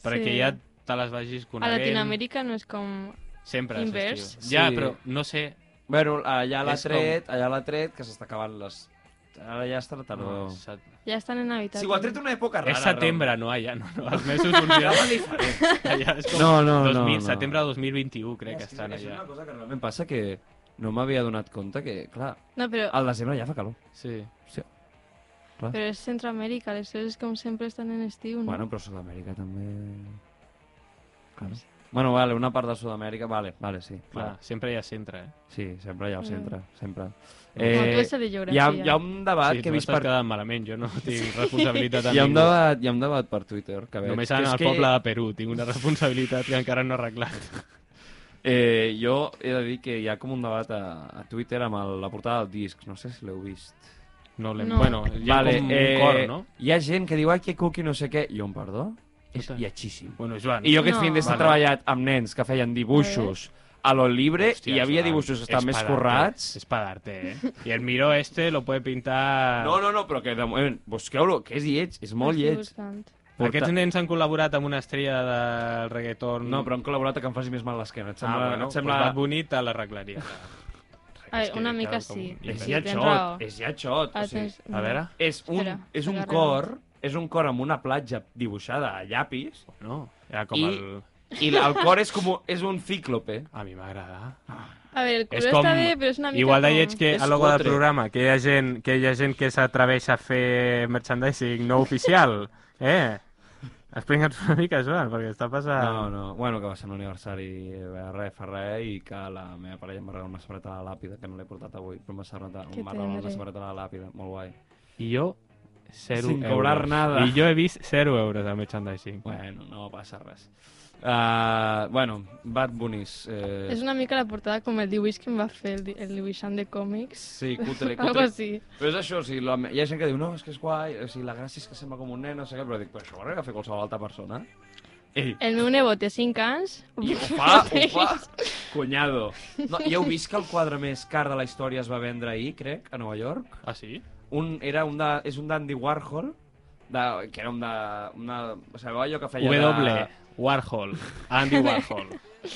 Speaker 4: Perquè
Speaker 5: Sí.
Speaker 4: ja te les vagis
Speaker 5: A
Speaker 4: coneguent.
Speaker 5: Latinoamèrica no és com
Speaker 4: Sempre és
Speaker 5: Invers.
Speaker 4: estiu.
Speaker 3: Sí.
Speaker 4: Ja, però no sé...
Speaker 3: Bueno, allà l'ha
Speaker 4: És com-
Speaker 3: tret, allà l'ha tret, que s'està acabant les... Ara ja està la
Speaker 4: No.
Speaker 3: tardor.
Speaker 4: és set-
Speaker 5: Ja estan en Habitat.
Speaker 7: Si ho ha tret una època rara.
Speaker 4: Ah, És setembre, no, allà. No, no, els mesos
Speaker 3: [LAUGHS]
Speaker 4: funcionen.
Speaker 7: realment.
Speaker 4: [LAUGHS] Allà és com
Speaker 3: No, no, no,
Speaker 4: 2000,
Speaker 3: no.
Speaker 4: Setembre de 2021, crec que
Speaker 7: És
Speaker 4: estan
Speaker 7: és
Speaker 4: allà.
Speaker 7: una cosa que realment...
Speaker 3: Em passa que no m'havia donat compte que, clar,
Speaker 5: No, però,
Speaker 3: al desembre ja fa calor.
Speaker 4: Sí.
Speaker 5: però és Centroamèrica, les coses com sempre estan en estiu,
Speaker 4: Mm.
Speaker 5: no?
Speaker 3: Bueno, però Sud-amèrica també... Claro. Bueno, vale, una part de Sud-amèrica, vale, vale, sí.
Speaker 4: Clar,
Speaker 3: Vale.
Speaker 4: sempre hi ha centre, eh?
Speaker 3: Sí, sempre hi ha al centre, sempre.
Speaker 5: eh, tu
Speaker 3: Eh,
Speaker 5: ets de
Speaker 3: hi, ha,
Speaker 5: geografia.
Speaker 3: hi ha un debat
Speaker 4: sí,
Speaker 3: que he
Speaker 4: tu
Speaker 3: vist
Speaker 4: estàs
Speaker 3: per...
Speaker 4: quedant malament, jo no tinc responsabilitat
Speaker 3: Hi ha,
Speaker 4: amb
Speaker 3: un
Speaker 4: ningú.
Speaker 3: debat, hi ha un debat per Twitter que veig.
Speaker 4: Només
Speaker 3: que
Speaker 4: en
Speaker 3: és
Speaker 4: el
Speaker 3: que-
Speaker 4: poble de Perú tinc una [LAUGHS] responsabilitat que encara no he arreglat.
Speaker 3: Eh, jo he de dir que hi ha com un debat a, a Twitter amb el, la portada del disc, no sé si l'heu vist. eh,
Speaker 4: No l'hem...
Speaker 5: No.
Speaker 4: Bueno, hi ha com un cor, no?
Speaker 3: Hi ha gent que diu, ai, que cookie no sé què, i on, perdó? És
Speaker 4: Total.
Speaker 3: lletxíssim.
Speaker 4: Bueno, Joan...
Speaker 3: I jo aquest
Speaker 5: No.
Speaker 3: no. fin d'estat he
Speaker 4: Vale.
Speaker 3: treballat amb nens que feien dibuixos a lo libre
Speaker 4: Hòstia,
Speaker 3: i hi havia
Speaker 4: Joan,
Speaker 3: dibuixos que
Speaker 4: és
Speaker 3: estaven més
Speaker 4: pedante,
Speaker 3: currats.
Speaker 4: És pedarte, eh? I el miró este lo puede pintar...
Speaker 3: No, no, no, però que de moment, busqueu-lo, que és lleig, és molt
Speaker 5: Estic
Speaker 3: lleig.
Speaker 5: buscant.
Speaker 3: Porta-
Speaker 4: Aquests nens han col·laborat amb una estrella del reggaeton...
Speaker 3: No, però han col·laborat a que em faci més mal l'esquena. Et
Speaker 4: Ah,
Speaker 3: sembla...
Speaker 4: bueno,
Speaker 3: et sembla...
Speaker 4: Pues Bad Bunny te l'arreglaria.
Speaker 3: [LAUGHS]
Speaker 5: Ai,
Speaker 4: És que
Speaker 5: una
Speaker 4: queda
Speaker 5: mica
Speaker 4: com
Speaker 5: sí.
Speaker 4: un
Speaker 3: És
Speaker 4: invent.
Speaker 5: Sí,
Speaker 3: ja
Speaker 5: tens raó.
Speaker 3: xot, és ja xot. O
Speaker 5: Ara
Speaker 3: sigui,
Speaker 5: tens-
Speaker 4: A veure...
Speaker 3: és un,
Speaker 5: Espera,
Speaker 3: és un
Speaker 5: agarra.
Speaker 3: cor, és un cor amb una platja dibuixada a llapis,
Speaker 4: No, era com
Speaker 3: I-
Speaker 4: el...
Speaker 3: i el cor és com... un- és un cíclope.
Speaker 4: A mi m'agrada.
Speaker 5: A veure, el color
Speaker 4: És com...
Speaker 5: està bé, però és una mica
Speaker 4: Igual de
Speaker 5: com...
Speaker 4: lleig que
Speaker 7: És
Speaker 4: a logo del
Speaker 7: cutre.
Speaker 4: programa, que hi ha gent que, hi ha gent que s'atreveix a fer merchandising no
Speaker 5: [LAUGHS]
Speaker 4: oficial. eh? Explica'ns una mica, Joan, perquè està
Speaker 5: Ah.
Speaker 4: passant...
Speaker 3: No, no. Bueno, que va ser un aniversari eh, re fa re i que la meva parella em va regalar una samarreta a la làpida, que no l'he portat avui, però em va samarreta-
Speaker 5: Que
Speaker 3: em va regalar una
Speaker 5: tendre.
Speaker 3: samarreta a la làpida. Molt guai.
Speaker 4: I jo, 0
Speaker 3: Sin
Speaker 4: euros.
Speaker 3: cobrar nada.
Speaker 4: I jo he vist 0 euros de merchandising.
Speaker 3: Bueno, no passa res. Uh, bueno, Bad Bunnies. Eh,
Speaker 5: És una mica la portada com el dibuix que em va fer el, di- el dibuixant de còmics.
Speaker 3: Sí, cutre,
Speaker 5: [LAUGHS] Algo
Speaker 3: cutre.
Speaker 5: així.
Speaker 3: Però és això, o sigui, la... hi ha gent que diu, no, és que és guai, o sigui, la gràcia és que sembla com un nen, no sé què, però dic, però això ho arriba a fer qualsevol altra persona. Ei,
Speaker 5: El meu nebot té 5 anys.
Speaker 3: I ho fa,
Speaker 5: [LAUGHS]
Speaker 3: ho fa. Cunyado. No, ja heu vist que el quadre més car de la història es va vendre ahir, crec, a Nova York?
Speaker 4: Ah, sí?
Speaker 3: Un, era un de, és un d'Andy Warhol, de, que era un de... Una, sabeu allò que feia
Speaker 4: W,
Speaker 3: de...
Speaker 4: Warhol, Andy Warhol.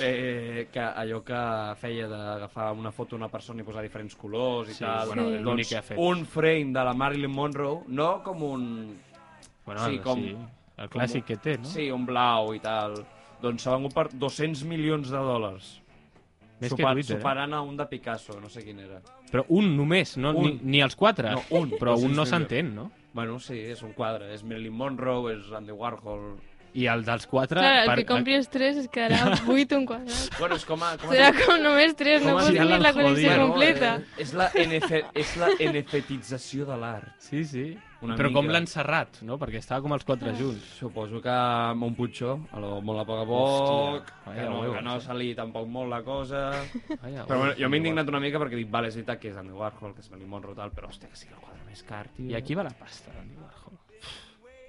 Speaker 3: Eh, que allò que feia d'agafar una foto d'una persona i posar diferents colors i
Speaker 4: Sí, Doncs
Speaker 3: tal.
Speaker 4: bueno,
Speaker 5: Sí.
Speaker 4: l'únic que ha fet.
Speaker 3: Un frame de la Marilyn Monroe, no com un...
Speaker 4: [LAUGHS] Bueno,
Speaker 3: Sí,
Speaker 4: el-
Speaker 3: com-
Speaker 4: sí, el clàssic que té, no?
Speaker 3: Sí, un blau i tal. Doncs s'ha vengut per 200 milions de dòlars.
Speaker 4: Més
Speaker 3: Supar-
Speaker 4: que Twitter,
Speaker 3: superant a un de Picasso, no sé quin era.
Speaker 4: eh? Però un només, no,
Speaker 3: Un.
Speaker 4: Ni, ni els quatre.
Speaker 3: No, un.
Speaker 4: Però un no
Speaker 3: 200
Speaker 4: s'entén, no?
Speaker 3: Bueno, sí, és un quadre. És Marilyn Monroe, és Andy Warhol...
Speaker 4: I el dels quatre...
Speaker 5: Clar, el
Speaker 4: per-
Speaker 5: que compris 3 es
Speaker 3: [LAUGHS]
Speaker 5: quedarà 8 un quadrat.
Speaker 3: Bueno, és com a... Com a
Speaker 5: Serà com només 3, no
Speaker 4: Com
Speaker 5: pots
Speaker 4: si ja
Speaker 5: tenir
Speaker 4: l'han
Speaker 5: la col·lecció
Speaker 4: jodido,
Speaker 5: completa.
Speaker 3: Eh, és la, NF, és la NFTització de l'art.
Speaker 4: Sí, sí.
Speaker 3: Una
Speaker 4: Però com
Speaker 3: mica.
Speaker 4: l'han serrat, no? Perquè estava com els quatre junts.
Speaker 3: Suposo que Montputxó, a lo, molt a poc a poc,
Speaker 4: Hòstia,
Speaker 3: que
Speaker 4: vaya
Speaker 3: no,
Speaker 4: huevos,
Speaker 3: que no
Speaker 4: eh?
Speaker 3: ha salit tampoc molt la cosa...
Speaker 4: [LAUGHS] Vaya,
Speaker 3: Però bueno,
Speaker 4: ui,
Speaker 3: jo m'he
Speaker 4: Andy
Speaker 3: indignat una mica perquè dic, vale, és veritat que és Andy Warhol, que és Marilyn Monroe, tal, però hòstia, que sí, el quadre més car, tio.
Speaker 4: Warhol. I aquí va la pasta, Andy Warhol.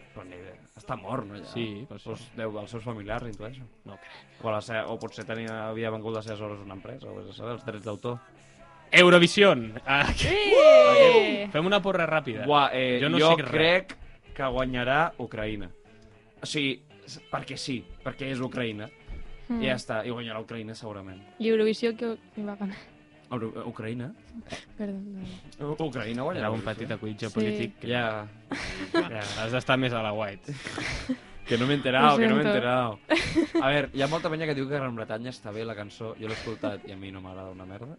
Speaker 3: Però ni idea. Està mort, no, ja?
Speaker 4: Sí, per això.
Speaker 3: Pues, deu dels seus familiars, intueixo.
Speaker 4: No crec.
Speaker 3: O, la seva, o potser tenia, havia vengut les seves hores una empresa, o vés a saber, els drets d'autor.
Speaker 4: Eurovision! Ah,
Speaker 5: Eh!
Speaker 4: Fem una porra ràpida.
Speaker 3: Gua, eh,
Speaker 4: Jo
Speaker 3: jo
Speaker 4: no
Speaker 3: no
Speaker 4: sé
Speaker 3: jo
Speaker 4: res.
Speaker 3: crec que guanyarà Ucraïna. O sigui, s- perquè sí, perquè és Ucraïna. Mm. I ja està, i guanyarà Ucraïna segurament.
Speaker 5: I Eurovisió que hi va ganar.
Speaker 3: Uru- eh, Ucraïna?
Speaker 5: Perdó, no.
Speaker 3: U- Ucraïna guanyarà.
Speaker 4: Era un
Speaker 3: Eurovisión.
Speaker 4: petit acudit
Speaker 5: Sí.
Speaker 4: polític. que-
Speaker 3: Ja,
Speaker 4: Ja, Has d'estar més a la White.
Speaker 3: que no m'he enterat,
Speaker 5: Ho
Speaker 3: que no m'he
Speaker 5: sento.
Speaker 3: enterat.
Speaker 5: [LAUGHS]
Speaker 3: A veure, hi ha molta penya que diu que Gran Bretanya està bé, la cançó. Jo l'he escoltat i a mi no m'agrada una merda.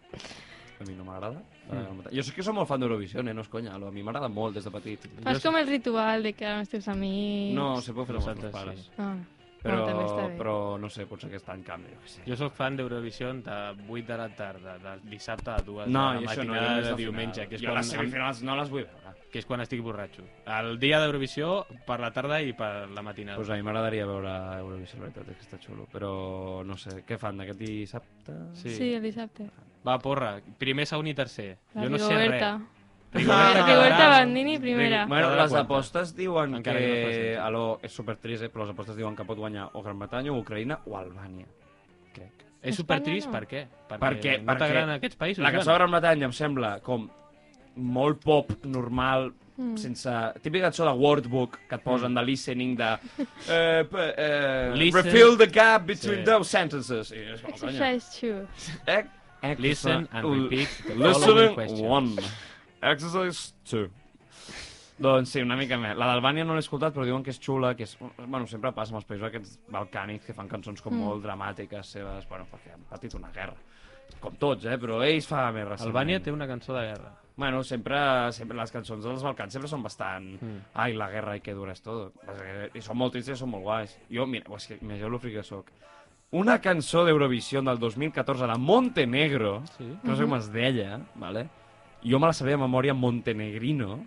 Speaker 3: A mi no m'agrada. la de Gran Bretanya. Jo sé que som molt fan d'Eurovisió, eh? no és conya. A mi m'agrada molt des de petit.
Speaker 5: Fas com el ritual de quedar amb els teus amics...
Speaker 3: No, se pot fer amb els meus
Speaker 4: Nosaltres
Speaker 3: pares.
Speaker 4: sí.
Speaker 5: Ah.
Speaker 3: Però,
Speaker 5: Bueno, també està bé.
Speaker 3: però no sé, potser aquest any canvi, jo què sé.
Speaker 4: Jo sóc fan d'Eurovisió de 8 de la tarda, de dissabte a 2
Speaker 3: No,
Speaker 4: de
Speaker 3: i
Speaker 4: la
Speaker 3: això no,
Speaker 4: matinada de diumenge, que és,
Speaker 3: jo
Speaker 4: quan,
Speaker 3: les semifinals no les vull veure.
Speaker 4: que és quan estic borratxo. El dia d'Eurovisió per la tarda i per la matinada.
Speaker 3: Doncs a mi m'agradaria veure Eurovisió, la veritat és que està xulo, però no sé, què fan d'aquest dissabte?
Speaker 4: sí.
Speaker 5: Sí, el dissabte.
Speaker 3: eh.
Speaker 4: Va, porra, primer, segon i tercer.
Speaker 5: La
Speaker 4: jo no sé
Speaker 5: Rigoberta.
Speaker 4: res.
Speaker 5: La Rigoberta
Speaker 4: Bandini.
Speaker 5: Bandini primera.
Speaker 3: Bueno,
Speaker 4: Cada
Speaker 3: les
Speaker 4: quatre.
Speaker 3: apostes diuen
Speaker 4: Encara
Speaker 3: que...
Speaker 4: que no es faci.
Speaker 3: Alò, és supertrist, eh? però les apostes diuen que pot guanyar o Gran Bretanya, o Ucraïna, o Albània, crec.
Speaker 4: És supertrist,
Speaker 5: no.
Speaker 4: per què? Perquè,
Speaker 3: Perquè-
Speaker 4: no
Speaker 3: perquè
Speaker 4: t'agraden aquests països?
Speaker 3: La
Speaker 4: Joan?
Speaker 3: cançó de Gran Bretanya em sembla com molt pop, normal, mm. sense... Típica cançó de workbook que et posen de listening, de... Eh, p- eh,
Speaker 4: Listen.
Speaker 3: Refill the gap between sí.
Speaker 4: Sí.
Speaker 3: those sentences. I és com,
Speaker 5: Això
Speaker 3: conya.
Speaker 5: és xu.
Speaker 3: Ec- exercise-
Speaker 4: Listen and
Speaker 3: l-
Speaker 4: repeat the following
Speaker 3: Listening
Speaker 4: questions.
Speaker 3: 1. Exercise 2. Doncs sí, una mica més. La d'Albània no l'he escoltat, però diuen que és xula, que és... Bueno, sempre passa amb els països aquests balcànics que fan cançons com mm. molt dramàtiques seves, bueno, perquè han patit una guerra. Com tots, eh? Però ells fa més recentment.
Speaker 4: Albània té una cançó de guerra.
Speaker 3: Bueno, sempre, sempre les cançons dels Balcans sempre són bastant...
Speaker 4: Mm.
Speaker 3: Mm. Ai, la guerra i que dura és tot. eh, I són molt tristes i són molt guais. Jo, mira, és que imagineu lo fric que sóc. Una cançó d'Eurovisió del 2014 de Montenegro,
Speaker 4: Sí.
Speaker 3: que no sé com es deia, vale? jo me la sabia de memòria Montenegrino,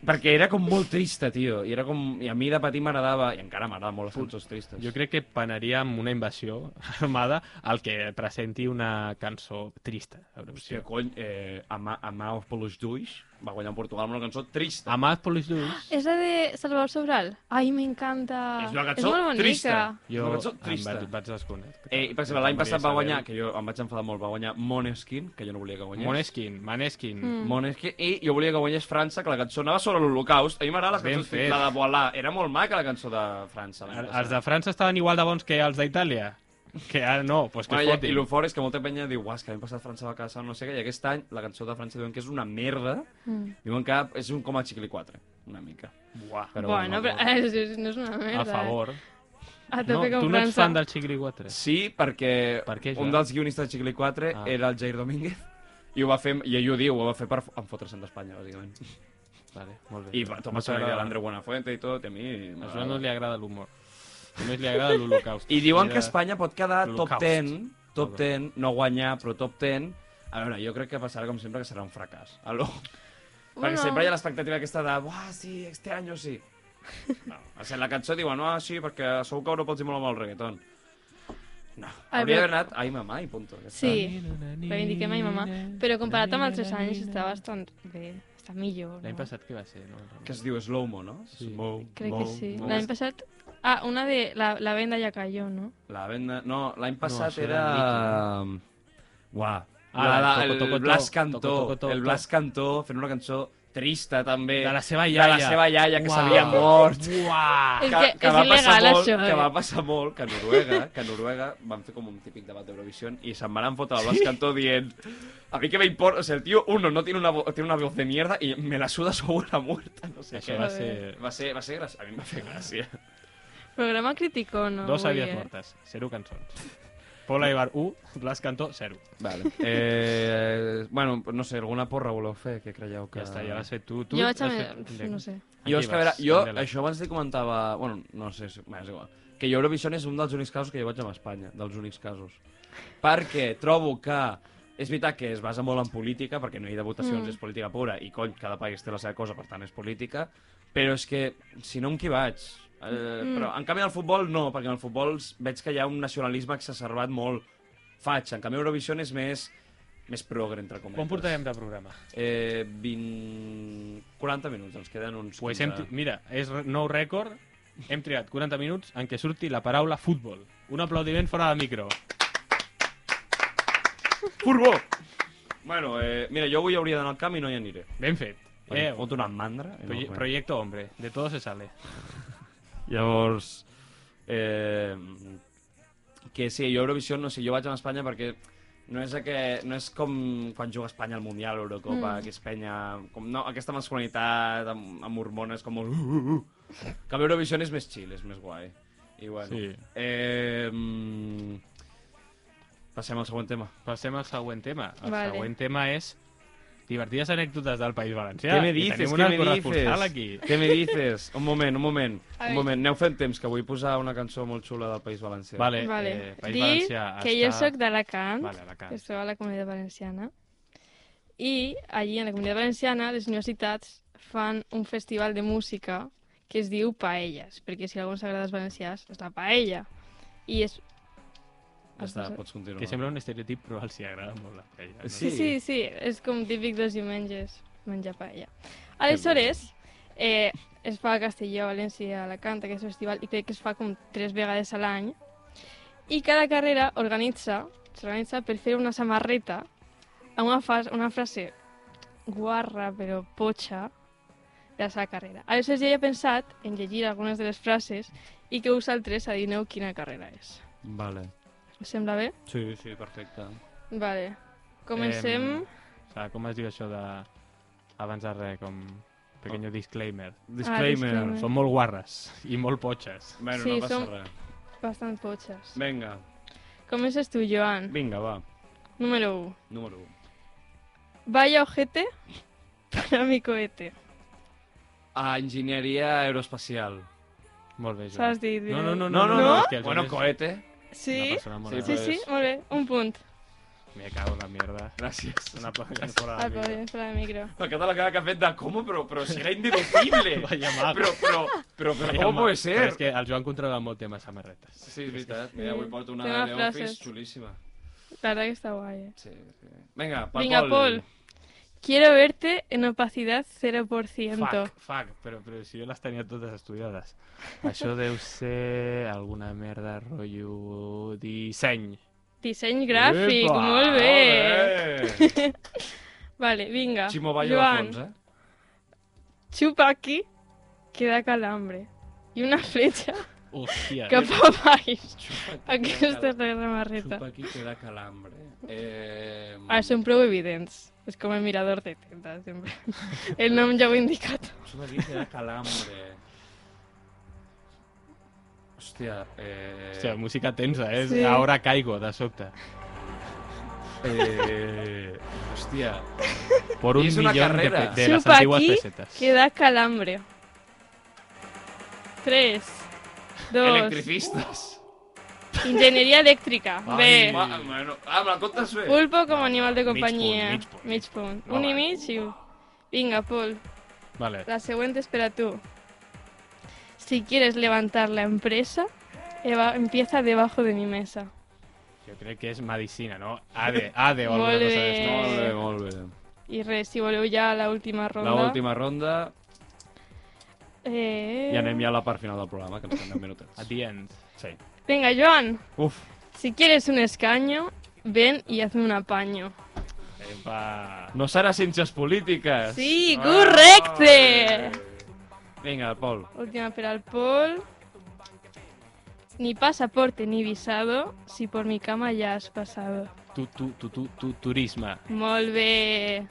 Speaker 3: perquè era com molt trista, tio. I, era com... I a mi de petit m'agradava, i encara m'agrada molt les cançons tristes.
Speaker 4: Jo crec que penaria amb una invasió [LAUGHS] armada al que presenti una cançó trista. a Eurovisió.
Speaker 3: Hòstia, cony, eh, a, ma, a Mao Polos Duix, va guanyar en Portugal amb una cançó trista.
Speaker 4: A más por los dos.
Speaker 5: És la de Salvador Sobral? Ai, m'encanta.
Speaker 3: És una
Speaker 5: És
Speaker 3: cançó
Speaker 5: molt bonica.
Speaker 3: trista. Una
Speaker 4: Jo em
Speaker 3: cançó trista.
Speaker 4: vaig, vaig desconnectar.
Speaker 3: Eh, I, per exemple, l'any passat va guanyar, que jo em vaig enfadar molt, va guanyar Moneskin, que jo no volia que guanyés.
Speaker 4: Moneskin, Maneskin.
Speaker 5: Mm.
Speaker 3: Moneskin, i jo volia que guanyés França, que la cançó anava sobre l'Holocaust. A mi m'agrada les
Speaker 4: Ben
Speaker 3: cançons,
Speaker 4: fet.
Speaker 3: la de Voilà, era molt maca la cançó de França. l'any
Speaker 4: El-
Speaker 3: passat.
Speaker 4: Els de França estaven igual de bons que els d'Itàlia? Que ara no, doncs que
Speaker 3: Bueno, i, I
Speaker 4: fotin.
Speaker 3: el fort és que molta penya diu, "Uah, és que l'any passat França va caçar no sé què, i aquest any la cançó de França diuen que és una merda,
Speaker 5: Mm.
Speaker 3: diuen que és un com a Xicli 4, una mica.
Speaker 4: Buah,
Speaker 3: Però
Speaker 5: bueno,
Speaker 3: bueno,
Speaker 5: però [LAUGHS]
Speaker 3: bueno.
Speaker 5: és, és, no és una merda.
Speaker 4: a favor.
Speaker 5: A
Speaker 4: No,
Speaker 5: tope no,
Speaker 4: tu
Speaker 5: com
Speaker 4: no ets
Speaker 5: França.
Speaker 4: fan del Xigri 4.
Speaker 3: Sí, perquè
Speaker 4: Per què,
Speaker 3: un
Speaker 4: Joan?
Speaker 3: dels guionistes de Xicli 4
Speaker 4: Ah.
Speaker 3: era el Jair Domínguez, i ho va fer, i ell ho diu, ho va fer per f- enfotre-se'n d'Espanya, bàsicament.
Speaker 4: Vale, molt bé.
Speaker 3: I va, Tomàs Soler, l'Andreu Buenafuente i tot, i a mi...
Speaker 4: A
Speaker 3: m'agrada.
Speaker 4: Joan no li agrada l'humor. Només li
Speaker 3: [LAUGHS]
Speaker 4: agrada l'Holocaust.
Speaker 3: I diuen
Speaker 4: Mira,
Speaker 3: que Espanya pot quedar top
Speaker 4: Holocaust.
Speaker 3: 10, top
Speaker 4: Perdó.
Speaker 3: 10, no guanyar, però top 10. A veure, jo crec que passarà com sempre que serà un fracàs. Aló? Perquè
Speaker 5: Bueno.
Speaker 3: sempre hi ha l'expectativa aquesta de «Buah, sí, este any sí».
Speaker 5: [LAUGHS]
Speaker 3: No, o sigui, la cançó diuen «Ah, sí, perquè segur que a Europa els hi mola molt el reggaeton». No,
Speaker 5: A
Speaker 3: hauria
Speaker 5: veure-
Speaker 3: d'haver anat «Ai, mamà» i punto. ja està.
Speaker 5: Sí, reivindiquem a mi mamà. Però comparat amb els 3 anys està bastant bé, està millor.
Speaker 4: L'any
Speaker 5: no?
Speaker 4: passat què va ser? No, no.
Speaker 3: Que es diu slow-mo, no?
Speaker 4: Sí.
Speaker 3: Slow,
Speaker 5: Crec
Speaker 3: mo,
Speaker 5: que sí.
Speaker 3: mo.
Speaker 5: L'any passat... Ah, una de... La, la venda ja cayó, no?
Speaker 3: La venda... No, l'any passat
Speaker 4: això
Speaker 3: era...
Speaker 4: era
Speaker 3: Uah.
Speaker 4: Ah,
Speaker 3: la, la,
Speaker 4: toco,
Speaker 3: el,
Speaker 4: toco, toco,
Speaker 3: Blas Cantó,
Speaker 4: toco, toco, toco,
Speaker 3: el Blas Cantó fent una cançó trista també.
Speaker 4: De la seva
Speaker 3: De
Speaker 4: iaia.
Speaker 3: la seva iaia, que
Speaker 4: Uau.
Speaker 3: s'havia mort.
Speaker 4: Uah!
Speaker 5: És que és
Speaker 3: passar
Speaker 5: il·legal,
Speaker 3: molt,
Speaker 5: això, eh?
Speaker 3: que va passar molt, que a Noruega, que a Noruega van fer com un típic debat d'Eurovisió i se'n van fotre el Blas Cantó dient a mí que me importa, o sea, el tío, uno, no tiene una, vo- tiene una voz de mierda y me la suda su abuela muerta, no sé
Speaker 4: Això
Speaker 3: què.
Speaker 4: va
Speaker 5: Joder.
Speaker 4: ser...
Speaker 3: Va ser, va ser gràcia, a mi em va fer gràcia.
Speaker 5: Programa criticó, no?
Speaker 4: Dos
Speaker 5: avui,
Speaker 4: àvies
Speaker 5: eh?
Speaker 4: mortes, zero cançons. [LAUGHS] Paula Ibar 1, Blas Cantó 0.
Speaker 3: Vale. Eh, bueno, no sé, alguna porra voleu fer, que creieu que...
Speaker 4: Ja està, ja va ser tu. tu
Speaker 5: Jo
Speaker 4: has
Speaker 5: vaig a...
Speaker 4: fet-
Speaker 5: me- No sé.
Speaker 3: Jo,
Speaker 4: Aquí
Speaker 3: és que, a veure,
Speaker 4: vas,
Speaker 3: jo,
Speaker 4: Candela.
Speaker 3: això abans li comentava... Bueno, no sé, si, bé, és igual. Que jo Eurovision és un dels únics casos que jo vaig amb Espanya, dels únics casos. Perquè trobo que... És veritat que es basa molt en política, perquè no hi ha de votacions,
Speaker 5: Mm.
Speaker 3: és política pura, i cony, cada país té la seva cosa, per tant és política, però és que, si no, amb qui vaig? Eh,
Speaker 5: Mm.
Speaker 3: Però, en canvi, en el futbol no, perquè en el futbol veig que hi ha un nacionalisme exacerbat molt faig. En canvi, Eurovision és més, més progre, entre cometes.
Speaker 4: Quan portarem de programa?
Speaker 3: Eh, 20... 40 minuts, ens queden uns
Speaker 4: Pues hem, tri- mira, és re- nou rècord. Hem triat 40 minuts en què surti la paraula futbol. Un aplaudiment fora del micro.
Speaker 3: Furbó! Bueno, eh, mira, jo avui hauria d'anar al camp i no hi aniré.
Speaker 4: Ben fet.
Speaker 3: Eh,
Speaker 4: Eh,
Speaker 3: fot una mandra.
Speaker 4: proye-
Speaker 3: enorme.
Speaker 4: proyecto hombre, de todo se sale.
Speaker 3: Llavors, eh, que sí, jo a Eurovisió, no sé, jo vaig a Espanya perquè no és, que, no és com quan juga Espanya al Mundial, a l'Eurocopa,
Speaker 5: Mm.
Speaker 3: mm. que és penya... Com, no, aquesta masculinitat amb, amb hormones com molt... Uh, uh, uh. Que a Eurovisió és més chill, és més guai. I bueno...
Speaker 4: Sí.
Speaker 3: Eh, mm, passem al següent tema.
Speaker 4: Passem al següent tema. El
Speaker 5: Vale.
Speaker 4: següent tema és divertides anècdotes del País Valencià.
Speaker 3: Què me
Speaker 4: I
Speaker 3: dices?
Speaker 4: Tenim
Speaker 3: Què
Speaker 4: una
Speaker 3: me dices?
Speaker 4: corresponsal aquí.
Speaker 3: Què me dices? Un moment, un moment.
Speaker 5: A
Speaker 3: Un
Speaker 5: ver.
Speaker 3: moment, aneu fent temps, que vull posar una cançó molt xula del País Valencià.
Speaker 4: Vale,
Speaker 5: Vale.
Speaker 4: eh, País
Speaker 5: Dir
Speaker 4: Valencià
Speaker 5: que
Speaker 4: està...
Speaker 5: jo sóc d'Alacant,
Speaker 4: Vale, Alacant.
Speaker 5: que es troba a la Comunitat Valenciana, i allí, en la Comunitat Valenciana, les universitats fan un festival de música que es diu Paelles, perquè si algú ens agrada els valencians és la paella. I és...
Speaker 3: Ja està, pots continuar.
Speaker 4: Que sembla un estereotip, però els hi agrada molt la paella. No?
Speaker 3: Sí.
Speaker 5: Sí, sí, sí, és com típic dels diumenges, menjar paella. Aleshores, eh, es fa a Castelló, a València, a Alacant, aquest festival, i crec que es fa com tres vegades a l'any. I cada carrera organitza, s'organitza per fer una samarreta amb una, fas, una frase guarra però potxa de la seva carrera. Aleshores ja he pensat en llegir algunes de les frases i que vosaltres adineu quina carrera és.
Speaker 3: Vale.
Speaker 5: Us sembla bé?
Speaker 3: Sí, sí, perfecte.
Speaker 5: Vale. Comencem...
Speaker 4: Em, o sea, com es diu això de... Abans de res, com... Pequeño disclaimer.
Speaker 3: Disclaimer.
Speaker 5: disclaimer.
Speaker 4: Són molt guarres i molt potxes.
Speaker 3: Bueno,
Speaker 5: Sí,
Speaker 3: no passa
Speaker 5: som-
Speaker 3: res.
Speaker 5: Bastant potxes.
Speaker 3: Vinga,
Speaker 5: Comences tu, Joan.
Speaker 3: vinga, va.
Speaker 5: Número 1.
Speaker 3: Número 1.
Speaker 5: Vaya ojete para mi cohete.
Speaker 3: A enginyeria aeroespacial.
Speaker 4: Molt bé, Joan.
Speaker 5: Saps dir?
Speaker 4: No, no, no,
Speaker 3: No, no,
Speaker 5: no.
Speaker 4: és que el Joan
Speaker 3: Bueno,
Speaker 4: és
Speaker 3: cohete.
Speaker 4: Una
Speaker 5: Sí?
Speaker 4: persona molt
Speaker 3: Sí,
Speaker 5: Sí,
Speaker 4: agradable.
Speaker 3: pues-
Speaker 5: sí, molt bé. Un punt.
Speaker 4: Me cago en la mierda.
Speaker 3: Gràcies.
Speaker 4: [LAUGHS] Una aplaudiment fora de
Speaker 5: Al
Speaker 4: mi.
Speaker 5: poder, fora de micro.
Speaker 3: La cara la cara que ha fet de com, però, però si era indeducible.
Speaker 4: [LAUGHS] Vaya mago.
Speaker 3: però, però, però, però,
Speaker 4: Vaya
Speaker 3: com
Speaker 4: mago.
Speaker 3: puede ser?
Speaker 4: Però és que el Joan controla molt tema samarretes.
Speaker 3: Sí, és veritat. Mira, avui porto una
Speaker 5: Tema
Speaker 3: de
Speaker 5: frases.
Speaker 3: Office xulíssima.
Speaker 5: La verdad que està guai, eh?
Speaker 3: Sí, sí. Vinga, pel
Speaker 5: Vinga, Pol. Quiero verte en opacidad 0%.
Speaker 4: Fuck, fuck, però, però si jo les tenia totes estudiades. Això deu ser alguna merda, rotllo... disseny.
Speaker 5: Disseny gràfic,
Speaker 4: Epa,
Speaker 3: Ah,
Speaker 5: molt bé.
Speaker 4: molt bé.
Speaker 5: Vale, vinga.
Speaker 3: Ximo Bayo
Speaker 5: Joan,
Speaker 3: Joan. eh?
Speaker 5: xupa aquí, que da calambre. I
Speaker 4: [LAUGHS]
Speaker 5: una fletxa
Speaker 4: Hòstia.
Speaker 5: [LAUGHS] cap a baix.
Speaker 3: Xupa aquí,
Speaker 5: Aquesta
Speaker 3: que
Speaker 5: és la
Speaker 3: da-
Speaker 5: remarreta.
Speaker 3: Xupa aquí que da calambre. Eh...
Speaker 5: Ah, són prou evidents. És com el mirador de tenda, sempre. [LAUGHS] El nom ja ho he indicat.
Speaker 3: Xupa aquí que da calambre. Hòstia, eh...
Speaker 4: Hòstia, música tensa, eh?
Speaker 5: Sí.
Speaker 4: Sí. Ahora caigo, de sobte.
Speaker 3: eh... Hòstia,
Speaker 4: Por
Speaker 3: I
Speaker 4: un
Speaker 3: és una
Speaker 4: millón de,
Speaker 3: carrera.
Speaker 4: pe- de las
Speaker 5: Xupa
Speaker 4: antiguas
Speaker 5: aquí,
Speaker 4: pesetas.
Speaker 5: que da calambre. 3, 2,
Speaker 3: electricistes.
Speaker 5: Ingeniería eléctrica.
Speaker 4: Ai,
Speaker 5: Bé.
Speaker 3: Va, bueno, ah, me la comptes bé?
Speaker 5: Pulpo com animal de companyia.
Speaker 4: Mig punt, mig punt, mig
Speaker 5: punt.
Speaker 4: No,
Speaker 5: un i
Speaker 4: vale.
Speaker 5: mig i un. Vinga, Pol,
Speaker 4: Vale.
Speaker 5: la següent és per a tu. Si quieres levantar la empresa, eva- empieza debajo de mi mesa.
Speaker 4: Yo creo que es medicina, ¿no?
Speaker 5: [LAUGHS]
Speaker 4: ADE, ADE o alguna
Speaker 5: Molt
Speaker 4: cosa
Speaker 5: bé.
Speaker 4: de esto.
Speaker 3: Molt bé, molt bé.
Speaker 5: I res, si voleu ja la última ronda.
Speaker 3: La última ronda
Speaker 5: Eh...
Speaker 3: i anem ja a la part final del programa, que ens queden minutets.
Speaker 4: At the end.
Speaker 3: Sí.
Speaker 5: Vinga, Joan,
Speaker 3: Uf,
Speaker 5: si quieres un escaño, ven y hazme un apaño.
Speaker 4: Epa.
Speaker 3: no serà ciències polítiques.
Speaker 5: Sí, correcte!
Speaker 3: Vinga, Pol.
Speaker 5: Última per al Pol. Ni pasaporte ni visado, si por mi cama ya has pasado.
Speaker 4: Tu, tu, tu, tu, tu, turisme.
Speaker 5: Molt bé.